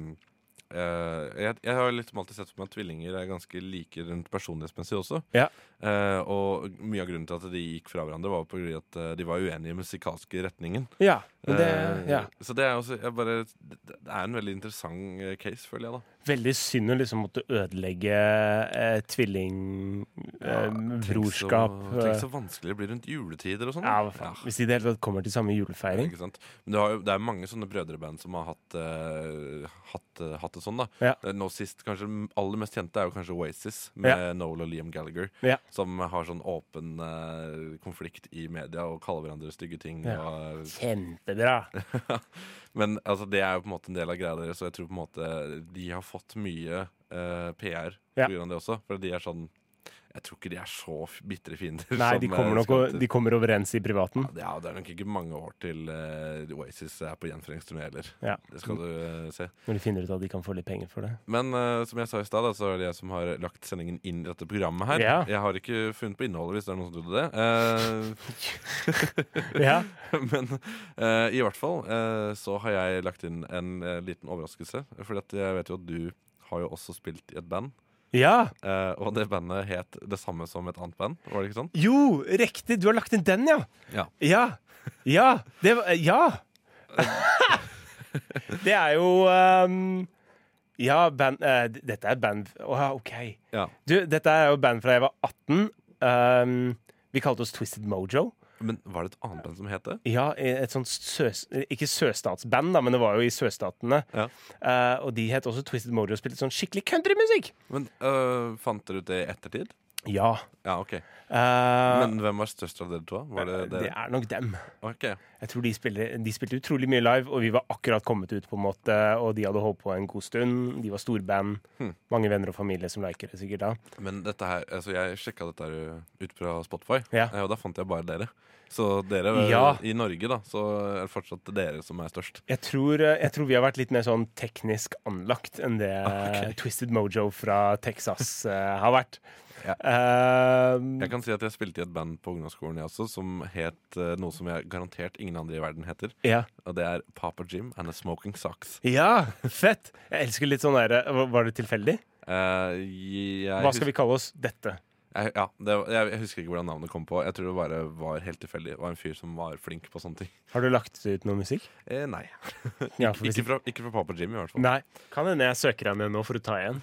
eh, jeg, jeg har liksom alltid sett for meg at tvillinger er ganske like rundt personlighetsmessig også.
Ja.
Eh, og mye av grunnen til at de gikk fra hverandre, var på grunn av at eh, de var uenige i musikalske retningen.
Ja. Men det,
Eh,
ja.
Så det er også jeg bare, det, det er en veldig interessant eh, case, føler jeg, da.
Veldig synd å liksom måtte ødelegge eh,
Tenk så-
tvillingbrorskap.
Tenk så vanskelig det blir rundt juletider og sånn.
eh. ja, hva faen. Hvis de i det hele tatt kommer til samme
Ja,
julefeiring.
ikke sant? Men du har jo, det er mange sånne brødreband som har hatt, eh, hatt, eh, hatt det sånn. da
Ja.
Eh, Nå sist, kanskje den aller mest kjente er jo kanskje Oasis med Noel og Liam Gallagher.
Ja.
Som har sånn åpen eh, konflikt i media og kaller hverandre stygge ting.
Ja.
og- eh,
Kjempebra!
men altså, det er jo på en måte en del av greia deres, og jeg tror på en måte de har fått mye eh, PR
Ja.
pga. det også. For de er sånn Jeg tror ikke de er så f- bitre fiender.
Nei, de
som, eh,
kommer nok
skal
å-
til-
de kommer overens i privaten.
Ja, Det er nok ikke mange år til eh, Oasis er på gjenforeningsturné heller.
Ja.
Det skal du eh, se.
Når de finner ut at de kan få litt penger for det.
Men eh, som jeg sa i stad, da, så er det jeg som har lagt sendingen inn i dette programmet her.
Ja.
Jeg har ikke funnet på innholdet, hvis det er noen som trodde det. Eh,
Ja.
men eh, i hvert fall eh, så har jeg lagt inn en eh, liten overraskelse. Fordi at jeg vet jo at du har jo også spilt i et band.
ja!
eh, og det bandet het det samme som et annet band, var det ikke sånn?
Jo, riktig! Du har lagt inn den, ja!
Ja.
Ja! Ja! Det, var- eh, ja. det er jo ehm, Ja, band eh, d- Dette er et band Å ja, OK.
Ja.
Du, dette er jo et band fra jeg var 18. Ehm, vi kalte oss Twisted Mojo.
Men var det et annet band som het det?
Ja, et sånt søs, Ikke sørstatsband, da, men det var jo i sørstatene.
Ja.
Eh, og de het også Twisted Mojo og spilte sånn skikkelig countrymusikk.
Men eh, Fant dere ut det i ettertid?
Ja.
Ja, OK.
Eh,
Men hvem var størst av dere to? Var det
det
dere?
er nok dem.
Ok.
Jeg tror de spilte, de spilte utrolig mye live, og vi var akkurat kommet ut, på en måte, og de hadde holdt på en god stund. De var storband. Mange venner og familie som liker det sikkert da.
Men dette her, altså jeg sjekka dette her uh, ut fra Spotify,
Ja.
eh, og da fant jeg bare dere. Så dere uh,
Ja.
i Norge, da, så er det fortsatt dere som er størst.
Jeg tror, eh, jeg tror vi har vært litt mer sånn teknisk anlagt enn det
Ok.
Twisted Mojo fra Texas eh, har vært.
Ja.
Eh,
Jeg kan si at jeg spilte i et band på ungdomsskolen jeg også, som het uh, noe som jeg garantert ingen andre i verden heter.
ja.
Og det er Papa Jim and the Smoking Socks.
Ja, fett! Jeg elsker litt sånn der hva- Var det tilfeldig?
Eh, jeg,
Hva skal vi kalle oss? Dette.
Jeg, ja, det, var- jeg, jeg husker ikke hvordan navnet kom på. Jeg tror det bare var helt tilfeldig. Det var en fyr som var flink på sånne ting.
Har du lagt ut noe musikk?
Eh, nei.
Ja, for hvis
Ikke fra, ikke fra Papa Jim, i hvert fall.
Nei. Kan hende jeg søker deg ned nå for å ta igjen.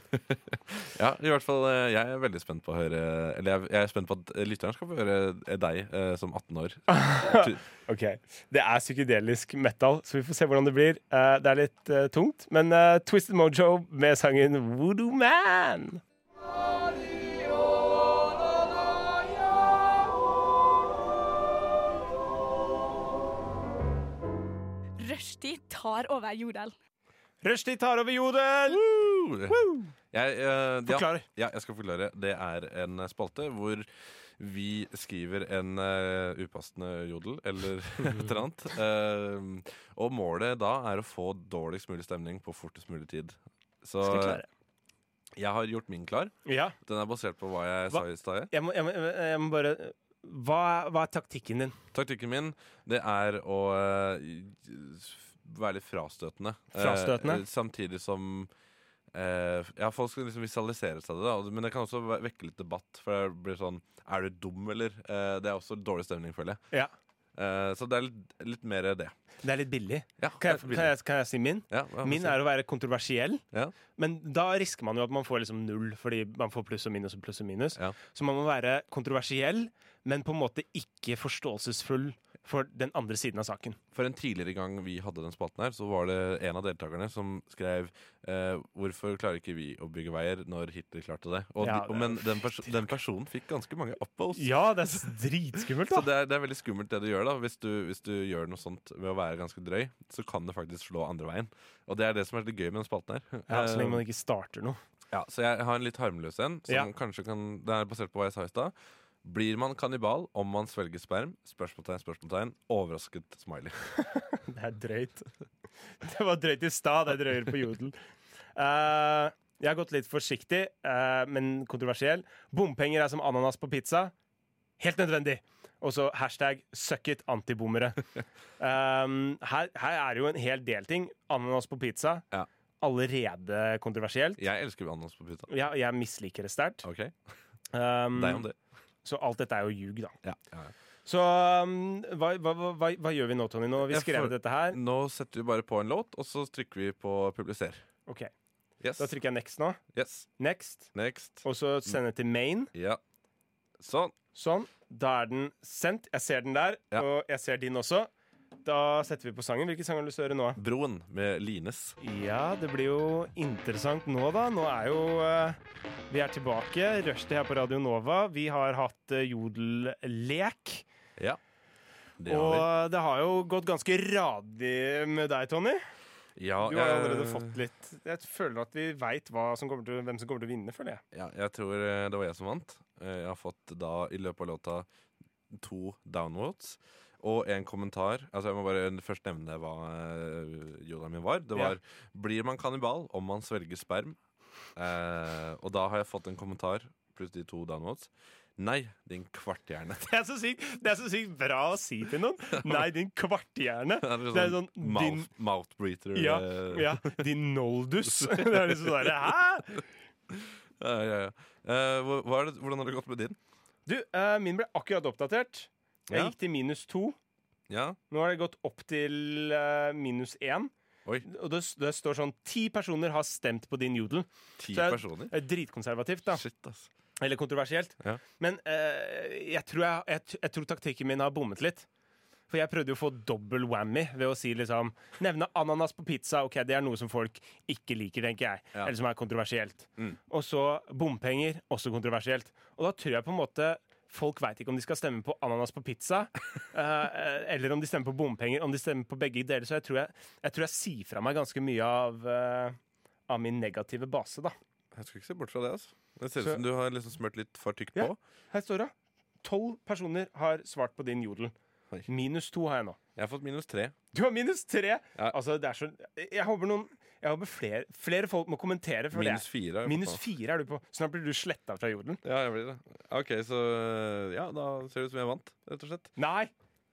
Ja, i hvert fall, eh, jeg er veldig spent på å høre Eller jeg, jeg er spent på at lytteren skal få høre eh, deg eh, som 18 år.
Ok, Det er psykedelisk metal, så vi får se hvordan det blir. Eh, det er litt eh, tungt, men eh, Twisted Mojo med sangen Voodoo Man.
Rushtid tar over jordel.
Rushdie tar over jodel!
Jeg, eh,
Forklar.
Ja, ja, jeg skal forklare. Det er en spalte hvor vi skriver en eh, upassende jodel eller et eller annet. Eh, og målet da er å få dårligst mulig stemning på fortest mulig tid. Så
Skal klare.
jeg har gjort min klar.
Ja,
Den er basert på hva jeg
Hva?
sa i stad. jeg.
jeg må, jeg må, jeg må bare hva, er- hva er taktikken din?
Taktikken min det er å eh, være litt frastøtende. Eh,
Frastøtende?
samtidig som eh, Ja, folk skal liksom visualisere seg det, da. og- Men det kan også ve- vekke litt debatt. For det blir sånn Er du dum, eller? Eh, det er også dårlig stemning, føler jeg.
Ja.
Eh, så det er litt, litt mer det.
Det er litt billig.
Ja,
Kan jeg,
det er
kan jeg, kan jeg si min?
Ja, hva-
Min er å være kontroversiell,
Ja.
men da risker man jo at man får liksom null, fordi man får pluss og minus og pluss og minus.
Ja.
Så man må være kontroversiell, men på en måte ikke forståelsesfull for den andre siden av saken.
For en tidligere gang vi hadde den spalten her, så var det en av deltakerne som skrev eh, 'Hvorfor klarer ikke vi å bygge veier når Hitler klarte det?' Og
Ja,
de,
det er
men den, pers den personen fikk ganske mange upvotes.
Ja, det er dritskummelt,
Så det er, det er veldig skummelt det du gjør da hvis du, hvis du gjør noe sånt ved å være ganske drøy, så kan det faktisk slå andre veien. Og det er det som er litt gøy med den spalten her.
Ja, så lenge man
Eh,
ikke starter noe.
ja, så jeg har en litt harmløs en, som
Ja.
kanskje kan Det er basert på hva jeg sa i stad. Blir man kannibal om man svelger sperm? Spørsmålstegn, spørsmålstegn. Overrasket smiley.
Det er drøyt. Det var drøyt i stad, det er drøyere på jodel. Eh, jeg har gått litt forsiktig, eh, men kontroversiell. Bompenger er som ananas på pizza. Helt nødvendig. Og så hashtag 'suck it antibommere'. Um, her, her er det jo en hel del ting. Ananas på pizza.
Ja.
Allerede kontroversielt.
Jeg elsker ananas på pizza.
Ja, jeg misliker det sterkt.
OK?
Um,
Deg om det.
så alt dette er jo ljug, da.
Ja. ja.
Så um, hva, hva, hva, hva- hva gjør vi nå, Tony? Nå har vi
Jeg
skrevet
får-
dette her.
Nå setter vi bare på en låt, og så trykker vi på publiser.
Ok,
Yes.
Da trykker jeg next nå.
yes.
Next.
Next.
Og så sende til main.
Ja. Sånn.
Sånn. Da er den sendt. Jeg ser den der,
Ja.
og jeg ser din også. Da setter vi på sangen. Hvilken sang har du lyst til å høre nå?
Broen med Lines.
Ja, det blir jo interessant nå, da. Nå er jo eh, Vi er tilbake. Rushtid her på Radio Nova. Vi har hatt eh, jodellek.
Ja. Det har
Og
vi.
det har jo gått ganske radig med deg, Tony.
Ja,
Du har jo
jeg-
allerede fått litt Jeg føler at vi veit hvem som kommer til å vinne, føler jeg.
ja, Jeg tror eh, det var jeg som vant. Eh, Jeg har fått da i løpet av låta to downvotes og en kommentar. Altså Jeg må bare først nevne hva eh, jodaen min var. Det
Ja.
var 'Blir man kannibal om man svelger sperm?' Eh, og da har jeg fått en kommentar pluss de to downvotes. Nei, din kvarthjerne.
Det er, så sykt, det er så sykt bra å si til noen. Nei, din kvarthjerne.
Det er
Det er
sånn
sånn din,
mouth, mouthbreather.
ja,
eh,
ja, din noldus. Det er liksom sånn der, Hæ?
ja, ja, ja. Eh, hvor- hva er det, hvordan har det gått med din?
Du, eh, min ble akkurat oppdatert. Jeg
Ja.
gikk til minus to.
Ja,
Nå har det gått opp til eh, minus én.
Oi.
Og det, det står sånn ti personer har stemt på din jodel.
Ti
Så jeg-
personer?
Eh, Dritkonservativt, da.
Shit, ass.
Eller kontroversielt.
Ja.
Men eh, jeg, tror jeg, jeg, t- jeg tror taktikken min har bommet litt. For jeg prøvde jo å få dobbel whammy ved å si liksom Nevne ananas på pizza. Ok, det er noe som folk ikke liker, tenker jeg.
Ja.
Eller som er kontroversielt.
Mm.
Og så bompenger, også kontroversielt. Og da tror jeg på en måte Folk veit ikke om de skal stemme på ananas på pizza, eh, eller om de stemmer på bompenger. Om de stemmer på begge deler. Så jeg tror jeg, jeg, tror jeg sier fra meg ganske mye av, eh, av min negative base, da.
Jeg skal ikke se bort fra det. ass. Det ser ut
Så-
som du har liksom smurt litt for tykt
Ja.
på.
Her står det. Tolv personer har svart på din jodel.
Oi.
Minus to har jeg nå.
Jeg har fått minus tre.
Du har minus tre!
Ja.
Altså, det er så Jeg håper noen Jeg håper flere, flere folk må kommentere. For
Minus
det.
fire. har jeg fått
minus
nå.
fire er du på. Snart blir du sletta fra jodelen.
Ja, jeg blir det. Ok, så ja, da ser det ut som jeg vant, rett og slett.
Nei!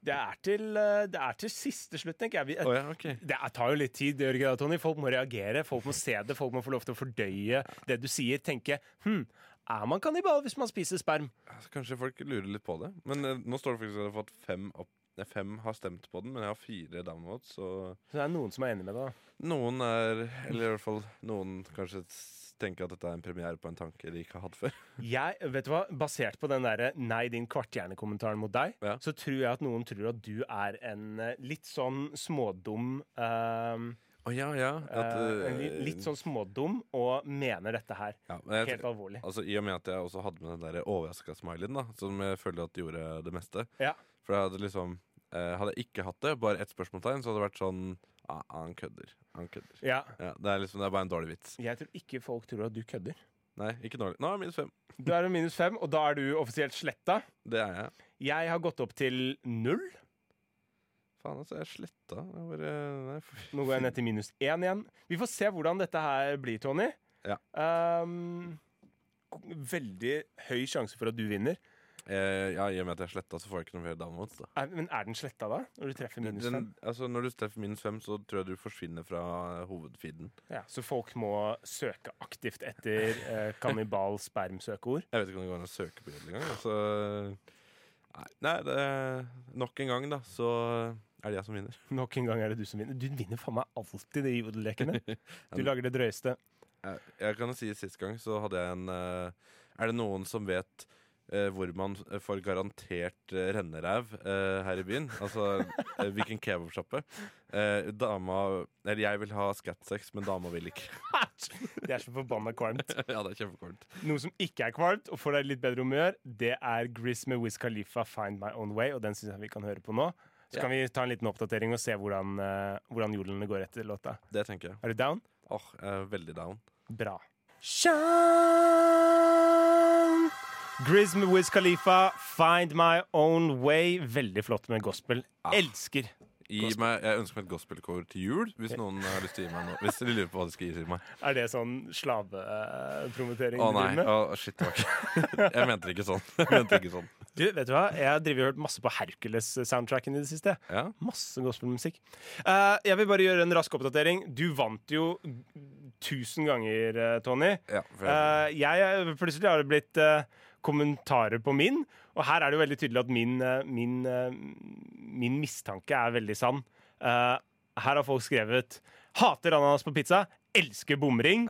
Det er til, eh, det er til siste slutt, tenker jeg. Vi-
Å ja, ok.
Det er- tar jo litt tid, det gjør ikke det, Tony. Folk må reagere, folk må se det, folk må få lov til å fordøye det du sier. Tenke hm, er man kannibal hvis man spiser sperm?
Altså, kanskje folk lurer litt på det. Men eh, nå står det faktisk at jeg har fått fem opp. Nei, fem har stemt på den, men jeg har fire downvotes. Og
Så det er noen som er enig med deg. da.
noen er Eller i hvert fall noen kanskje s- tenker at dette er en premiere på en tanke de ikke har hatt før.
Jeg, vet du hva, Basert på den derre 'nei, din kvarthjerne'-kommentaren mot deg,
Ja.
så tror jeg at noen tror at du er en eh, litt sånn smådum ehm,
Å ja, ja. At,
eh, en li-
eh,
Litt sånn smådum og mener dette her.
ja, men jeg,
Helt alvorlig.
Altså, I og med at jeg også hadde med den der overraska smileyen, da, som jeg føler at gjorde det meste.
Ja.
For jeg hadde liksom eh, Hadde jeg ikke hatt det, bare ett spørsmålstegn, så hadde det vært sånn ah, Han kødder. Han kødder.
ja.
Ja, det, er liksom, det er bare en dårlig vits.
Jeg tror ikke folk tror at du kødder.
Nei, ikke dårlig. Nå er jeg minus fem.
Du er en minus fem, og da er du offisielt sletta.
Det er jeg.
Jeg har gått opp til null.
Faen, altså. Jeg sletta. Jeg bare, nei, for...
Nå går jeg ned til minus én igjen. Vi får se hvordan dette her blir, Tony.
Ja.
Ehm, veldig høy sjanse for at du vinner.
Eh, ja, I og med at jeg sletta, så får jeg ikke noe flere downvotes. Da.
Er, men er den sletta da? Når du treffer minus fem?
Den, altså, når du treffer minus fem, så tror jeg du forsvinner fra hovedfeeden.
Ja, så folk må søke aktivt etter eh, kannibal spermsøkeord?
Jeg vet ikke om det går an å søke på Jodel engang. Så nei, nei det, nok en gang, da, så er det jeg som vinner.
Nok en gang er det du som vinner. Du vinner faen meg alltid de jodellekene. Du lager det drøyeste.
Jeg, jeg kan jo si sist gang så hadde jeg en eh, Er det noen som vet eh, hvor man får garantert uh, renneræv eh, her i byen? Altså eh, hvilken kebabsjappe? Eh, dama Eller jeg vil ha skatsex, men dama vil ikke.
Det er så forbanna kvalmt.
ja, det er kjempekort.
Noe som ikke er kvalmt, og får deg i litt bedre humør, det er Grizz med Wiz Khalifa, 'Find My Own Way', og den syns jeg vi kan høre på nå. Så
Ja.
kan vi ta en liten oppdatering og se hvordan, eh, hvordan jodlene går etter låta.
Det tenker jeg.
Er du down?
Åh, jeg er veldig down.
Bra. Shine! Grizz med Wiz Khalifa, 'Find My Own Way'. Veldig flott med gospel.
Ah.
Elsker.
Gi meg, jeg ønsker meg et gospelkor til jul, hvis noen har lyst til å gi meg noe. Hvis de lurer på hva de skal gi til meg.
Er det sånn slavepromotering?
Å
du driver
nei,
med?
Å, shit, det var ikke Jeg mente det ikke sånn. Jeg mente ikke sånn.
Du, vet du hva? Jeg har drivet og hørt masse på Hercules-soundtracken i det siste.
Ja.
Masse gospelmusikk. Eh, jeg vil bare gjøre en rask oppdatering. Du vant jo tusen ganger, eh, Tony.
Ja, for jeg,
Eh, jeg, er- plutselig har det blitt eh, kommentarer på min, og her er det jo veldig tydelig at min, eh, min, eh, min mistanke er veldig sann. Eh, her har folk skrevet 'Hater ananas på pizza. Elsker bomring'.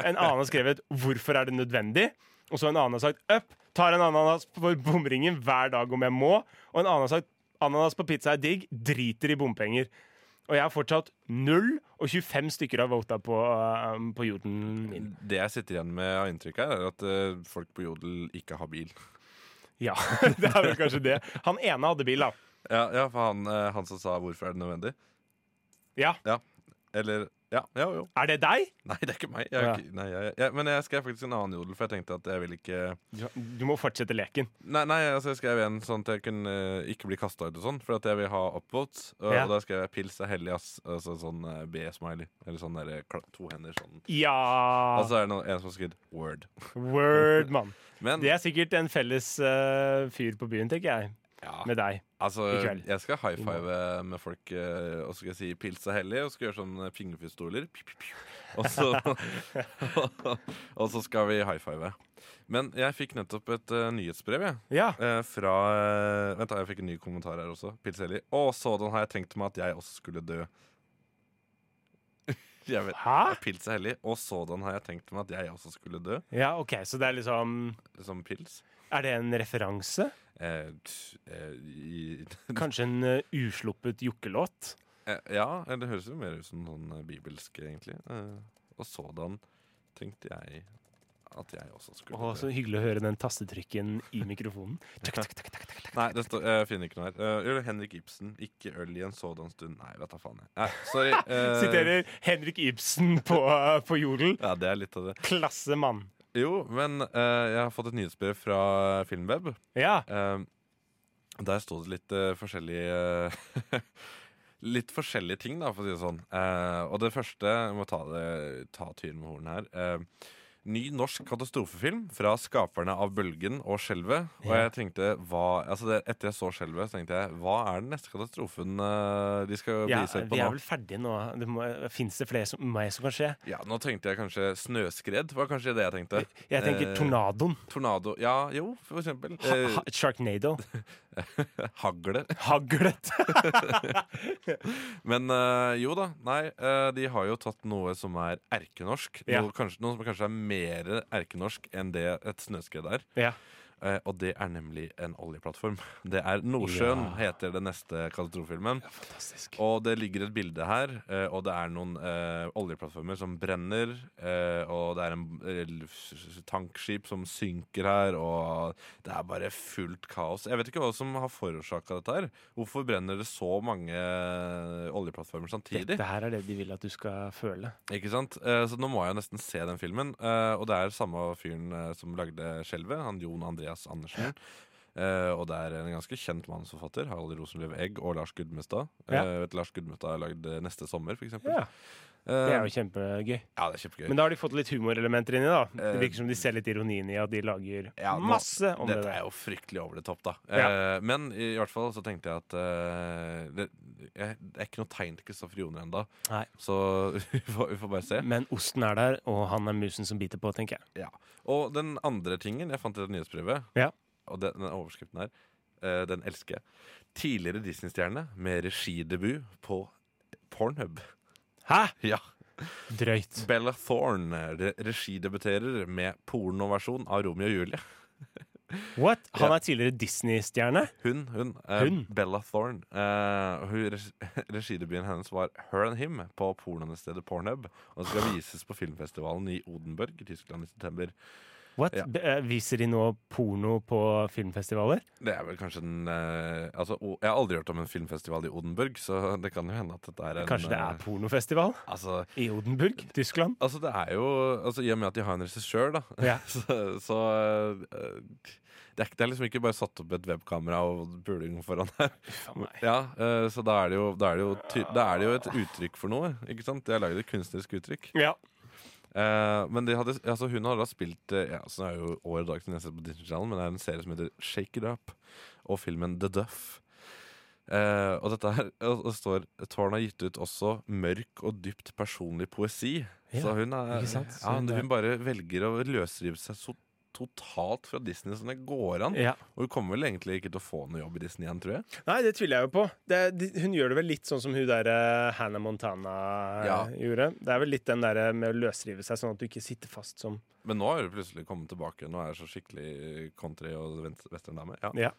En annen har skrevet 'Hvorfor er det nødvendig?' Og så en annen har sagt 'Up. Tar en ananas for bomringen hver dag om jeg må'. Og en annen har sagt 'Ananas på pizza er digg. Driter i bompenger'. Og jeg har fortsatt null, og 25 stykker har vota på, eh, på jorden min.
det jeg sitter igjen med av inntrykk her, er at eh, folk på Jodel ikke har bil.
Ja, det er vel kanskje det. Han ene hadde bil, da.
Ja, ja for han, eh, han som sa 'hvorfor er det nødvendig'?
Ja,
Eller Ja, ja, jo.
Er det deg?
Nei, det er ikke meg. Jeg, er
Ja.
ikke, nei, jeg, jeg, men jeg skrev faktisk en annen jodel, for jeg tenkte at jeg vil ikke
Du må fortsette leken.
Nei, nei altså, jeg skrev en sånn at jeg kunne eh, ikke bli kasta ut og sånn, for at jeg vil ha upvotes. Og,
Ja.
og da skrev jeg 'pils er hellig', ass. Altså sånn eh, B-smiley. Eller sånn derre kla- to hender sånn.
Ja!
Og så er det noen, en som har skrevet 'word'.
Word, mann.
Men
Det er sikkert en felles eh, fyr på byen, tenker jeg.
ja,
Med deg.
altså,
i kveld.
jeg skal high five med folk, eh, og så skal jeg si 'pils er hellig', og så skal jeg gjøre sånn eh, fingerpistoler. Piu, piu, piu. Og så, og så skal vi high five. Men jeg fikk nettopp et eh, nyhetsbrev, jeg.
Ja.
Eh, fra eh, Vent, da, jeg fikk en ny kommentar her også. Pilselli. Å, sådan har jeg tenkt meg at jeg også skulle dø. jeg vet.
Hæ?
Pils er hellig. Og sådan har jeg tenkt meg at jeg også skulle dø.
Ja, OK, så det er liksom
Som pils.
Er det en referanse?
Eh, t- eh, i,
Kanskje en eh, usluppet jokkelåt?
eh, ja, eh, det høres jo mer ut som sånn eh, bibelsk, egentlig. Eh, og sådan tenkte jeg at jeg også skulle
Å, så
dø.
hyggelig å høre den tastetrykken i mikrofonen. Tuk, tuk, tuk, tuk, tuk, tuk.
Nei, det står, jeg finner ikke noe her. Eh, jo, Henrik Ibsen. Ikke øl i en sådan stund. Nei, vet da faen. Jeg. Nei, sorry. eh,
Siterer Henrik Ibsen på, eh, på jodel.
Ja, det er litt av det.
Klasse mann.
Jo, men eh, jeg har fått et nyhetsbrev fra Filmweb.
Ja.
Eh, der sto det litt eh, forskjellige Litt forskjellige ting, da, for å si det sånn. Eh, og det første Jeg må ta, det, ta tyren med hornet her. Eh, ny norsk katastrofefilm fra skaperne av 'Bølgen' og 'Skjelvet'. Og
Ja.
jeg tenkte, hva, altså det, Etter jeg så 'Skjelvet', så tenkte jeg hva er den neste katastrofen eh, de skal
ja,
bli seg på
vi
nå?
er vel ferdige nå. Det må, finnes det flere som meg som kan skje?
Ja, Nå tenkte jeg kanskje snøskred. var kanskje det jeg tenkte.
Jeg tenker
Eh,
tornadoen.
Tornado Ja, jo, for eksempel.
Ha,
Eh,
ha, Sharknado.
Hagle.
Haglet.
Men eh, jo da, nei, eh, de har jo tatt noe som er erkenorsk.
Ja.
Noe, kanskje, noe som kanskje er mer erkenorsk enn det et snøskred er.
Ja.
Eh, og det er nemlig en oljeplattform. Det er Nordsjøen, heter den neste katastrofefilmen.
Fantastisk.
Og det ligger et bilde her, eh, og det er noen eh, oljeplattformer som brenner. eh, og det er en eh, s- s- tankskip som synker her, og det er bare fullt kaos. Jeg vet ikke hva som har forårsaka dette her. Hvorfor brenner det så mange eh, oljeplattformer samtidig?
Dette her er det de vil at du skal føle.
Ikke sant? Eh, så nå må jeg jo nesten se den filmen. Eh, og det er samme fyren eh, som lagde 'Skjelvet', han Jon Andreas Andersen. Eh, og det er en ganske kjent manusforfatter, Harald Rosenløv Egg og Lars Gudmestad.
Ja.
Eh, vet, Lars Gudmestad har lagd eh, 'Neste sommer', for eksempel.
Ja, det
Eh,
er jo kjempegøy.
ja, det er kjempegøy.
Men da har de fått litt humorelementer inni, da. Det
Eh,
virker som de ser litt ironien i at de lager
Ja, nå-
masse om det
Dette er
der.
jo fryktelig over det topp, da.
Ja.
Eh, men i, i hvert fall så tenkte jeg at eh, det, jeg, det er ikke noe tegn til Kristoffer Joner ennå,
Nei.
så vi får, vi får bare se.
Men osten er der, og han er musen som biter på, tenker jeg.
Ja. Og den andre tingen jeg fant i det nyhetsbrevet,
Ja.
og den, den overskriften her, eh, den elsker jeg. Tidligere Disney-stjerne med regidebut på Pornhub.
Hæ?
Ja.
Drøyt.
Bella Thorne re- regidebuterer med pornoversjon av Romeo og Julie.
What? Han er tidligere Disney-stjerne.
Hun, hun, eh,
Hun?
Bella Thorne. Eh, hun, reg- regidebuten hennes var Her and Him på pornonestedet Pornhub. Og skal vises på filmfestivalen i Odenburg i Tyskland i september.
What?
Ja.
B- eh, Viser de nå porno på filmfestivaler?
Det er vel kanskje den eh, altså, o- Jeg har aldri hørt om en filmfestival i Odenburg, så det kan jo hende at dette er en
Kanskje det er
eh,
pornofestival
altså,
i Odenburg, Tyskland?
altså, det er jo altså, I og med at de har en regissør, da,
Ja.
så, så eh, det, er, ikke- det er liksom ikke bare satt opp et webkamera og puling foran her. Ja, eh, så da er det jo, da er det jo, ty da er det jo et uttrykk for noe. Ikke sant? De har laget et kunstnerisk uttrykk.
Ja.
Eh, men de hadde, altså hun hadde da spilt eh, ja, så Det er jo år og dag siden jeg har sett på Disney Channel, men det er en serie som heter Shake It Up, og filmen The Duff. Eh, og dette her og, og står Tårn har gitt ut også mørk og dypt personlig poesi.
Ja,
så hun er
ikke sant?
Ja,
Så det-
hun bare velger å løsrive seg så totalt fra Disney som det går an.
ja.
Og hun kommer vel egentlig ikke til å få noe jobb i Disney igjen, tror jeg.
Nei, det tviler jeg jo på. Det, de- hun gjør det vel litt sånn som hun der eh, Hannah Montana eh,
Ja.
gjorde. Det er vel litt den der eh, med å løsrive seg, sånn at du ikke sitter fast som
Men nå har du plutselig kommet tilbake. Nå er jeg så skikkelig country og vens- westerndame. Ja.
Ja.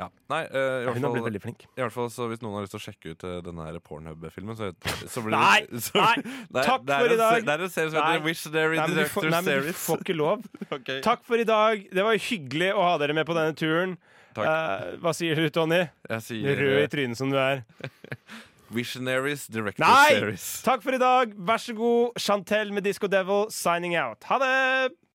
Ja. Nei, eh, i,
Hun
hvert
har
fall,
blitt veldig flink.
i hvert fall så hvis noen har lyst til å sjekke ut eh, denne her Pornhub-filmen, så, så blir
Nei!
det så,
Nei!
Nei,
Takk
det er
for
en
i dag.
se- Det er en serie som heter
Nei.
Wish There
Nei, men du får,
Director
nei, men du
Series.
får ikke lov.
Ok.
Takk for i dag. Det var hyggelig å ha dere med på denne turen.
Takk.
Eh, hva sier du, Tony?
Jeg sier
Rød i
eh,
trynet som du er.
Visionaries Director
Nei!
Series.
Takk for i dag. Vær så god. Chantel med Disco Devil signing out. Ha det!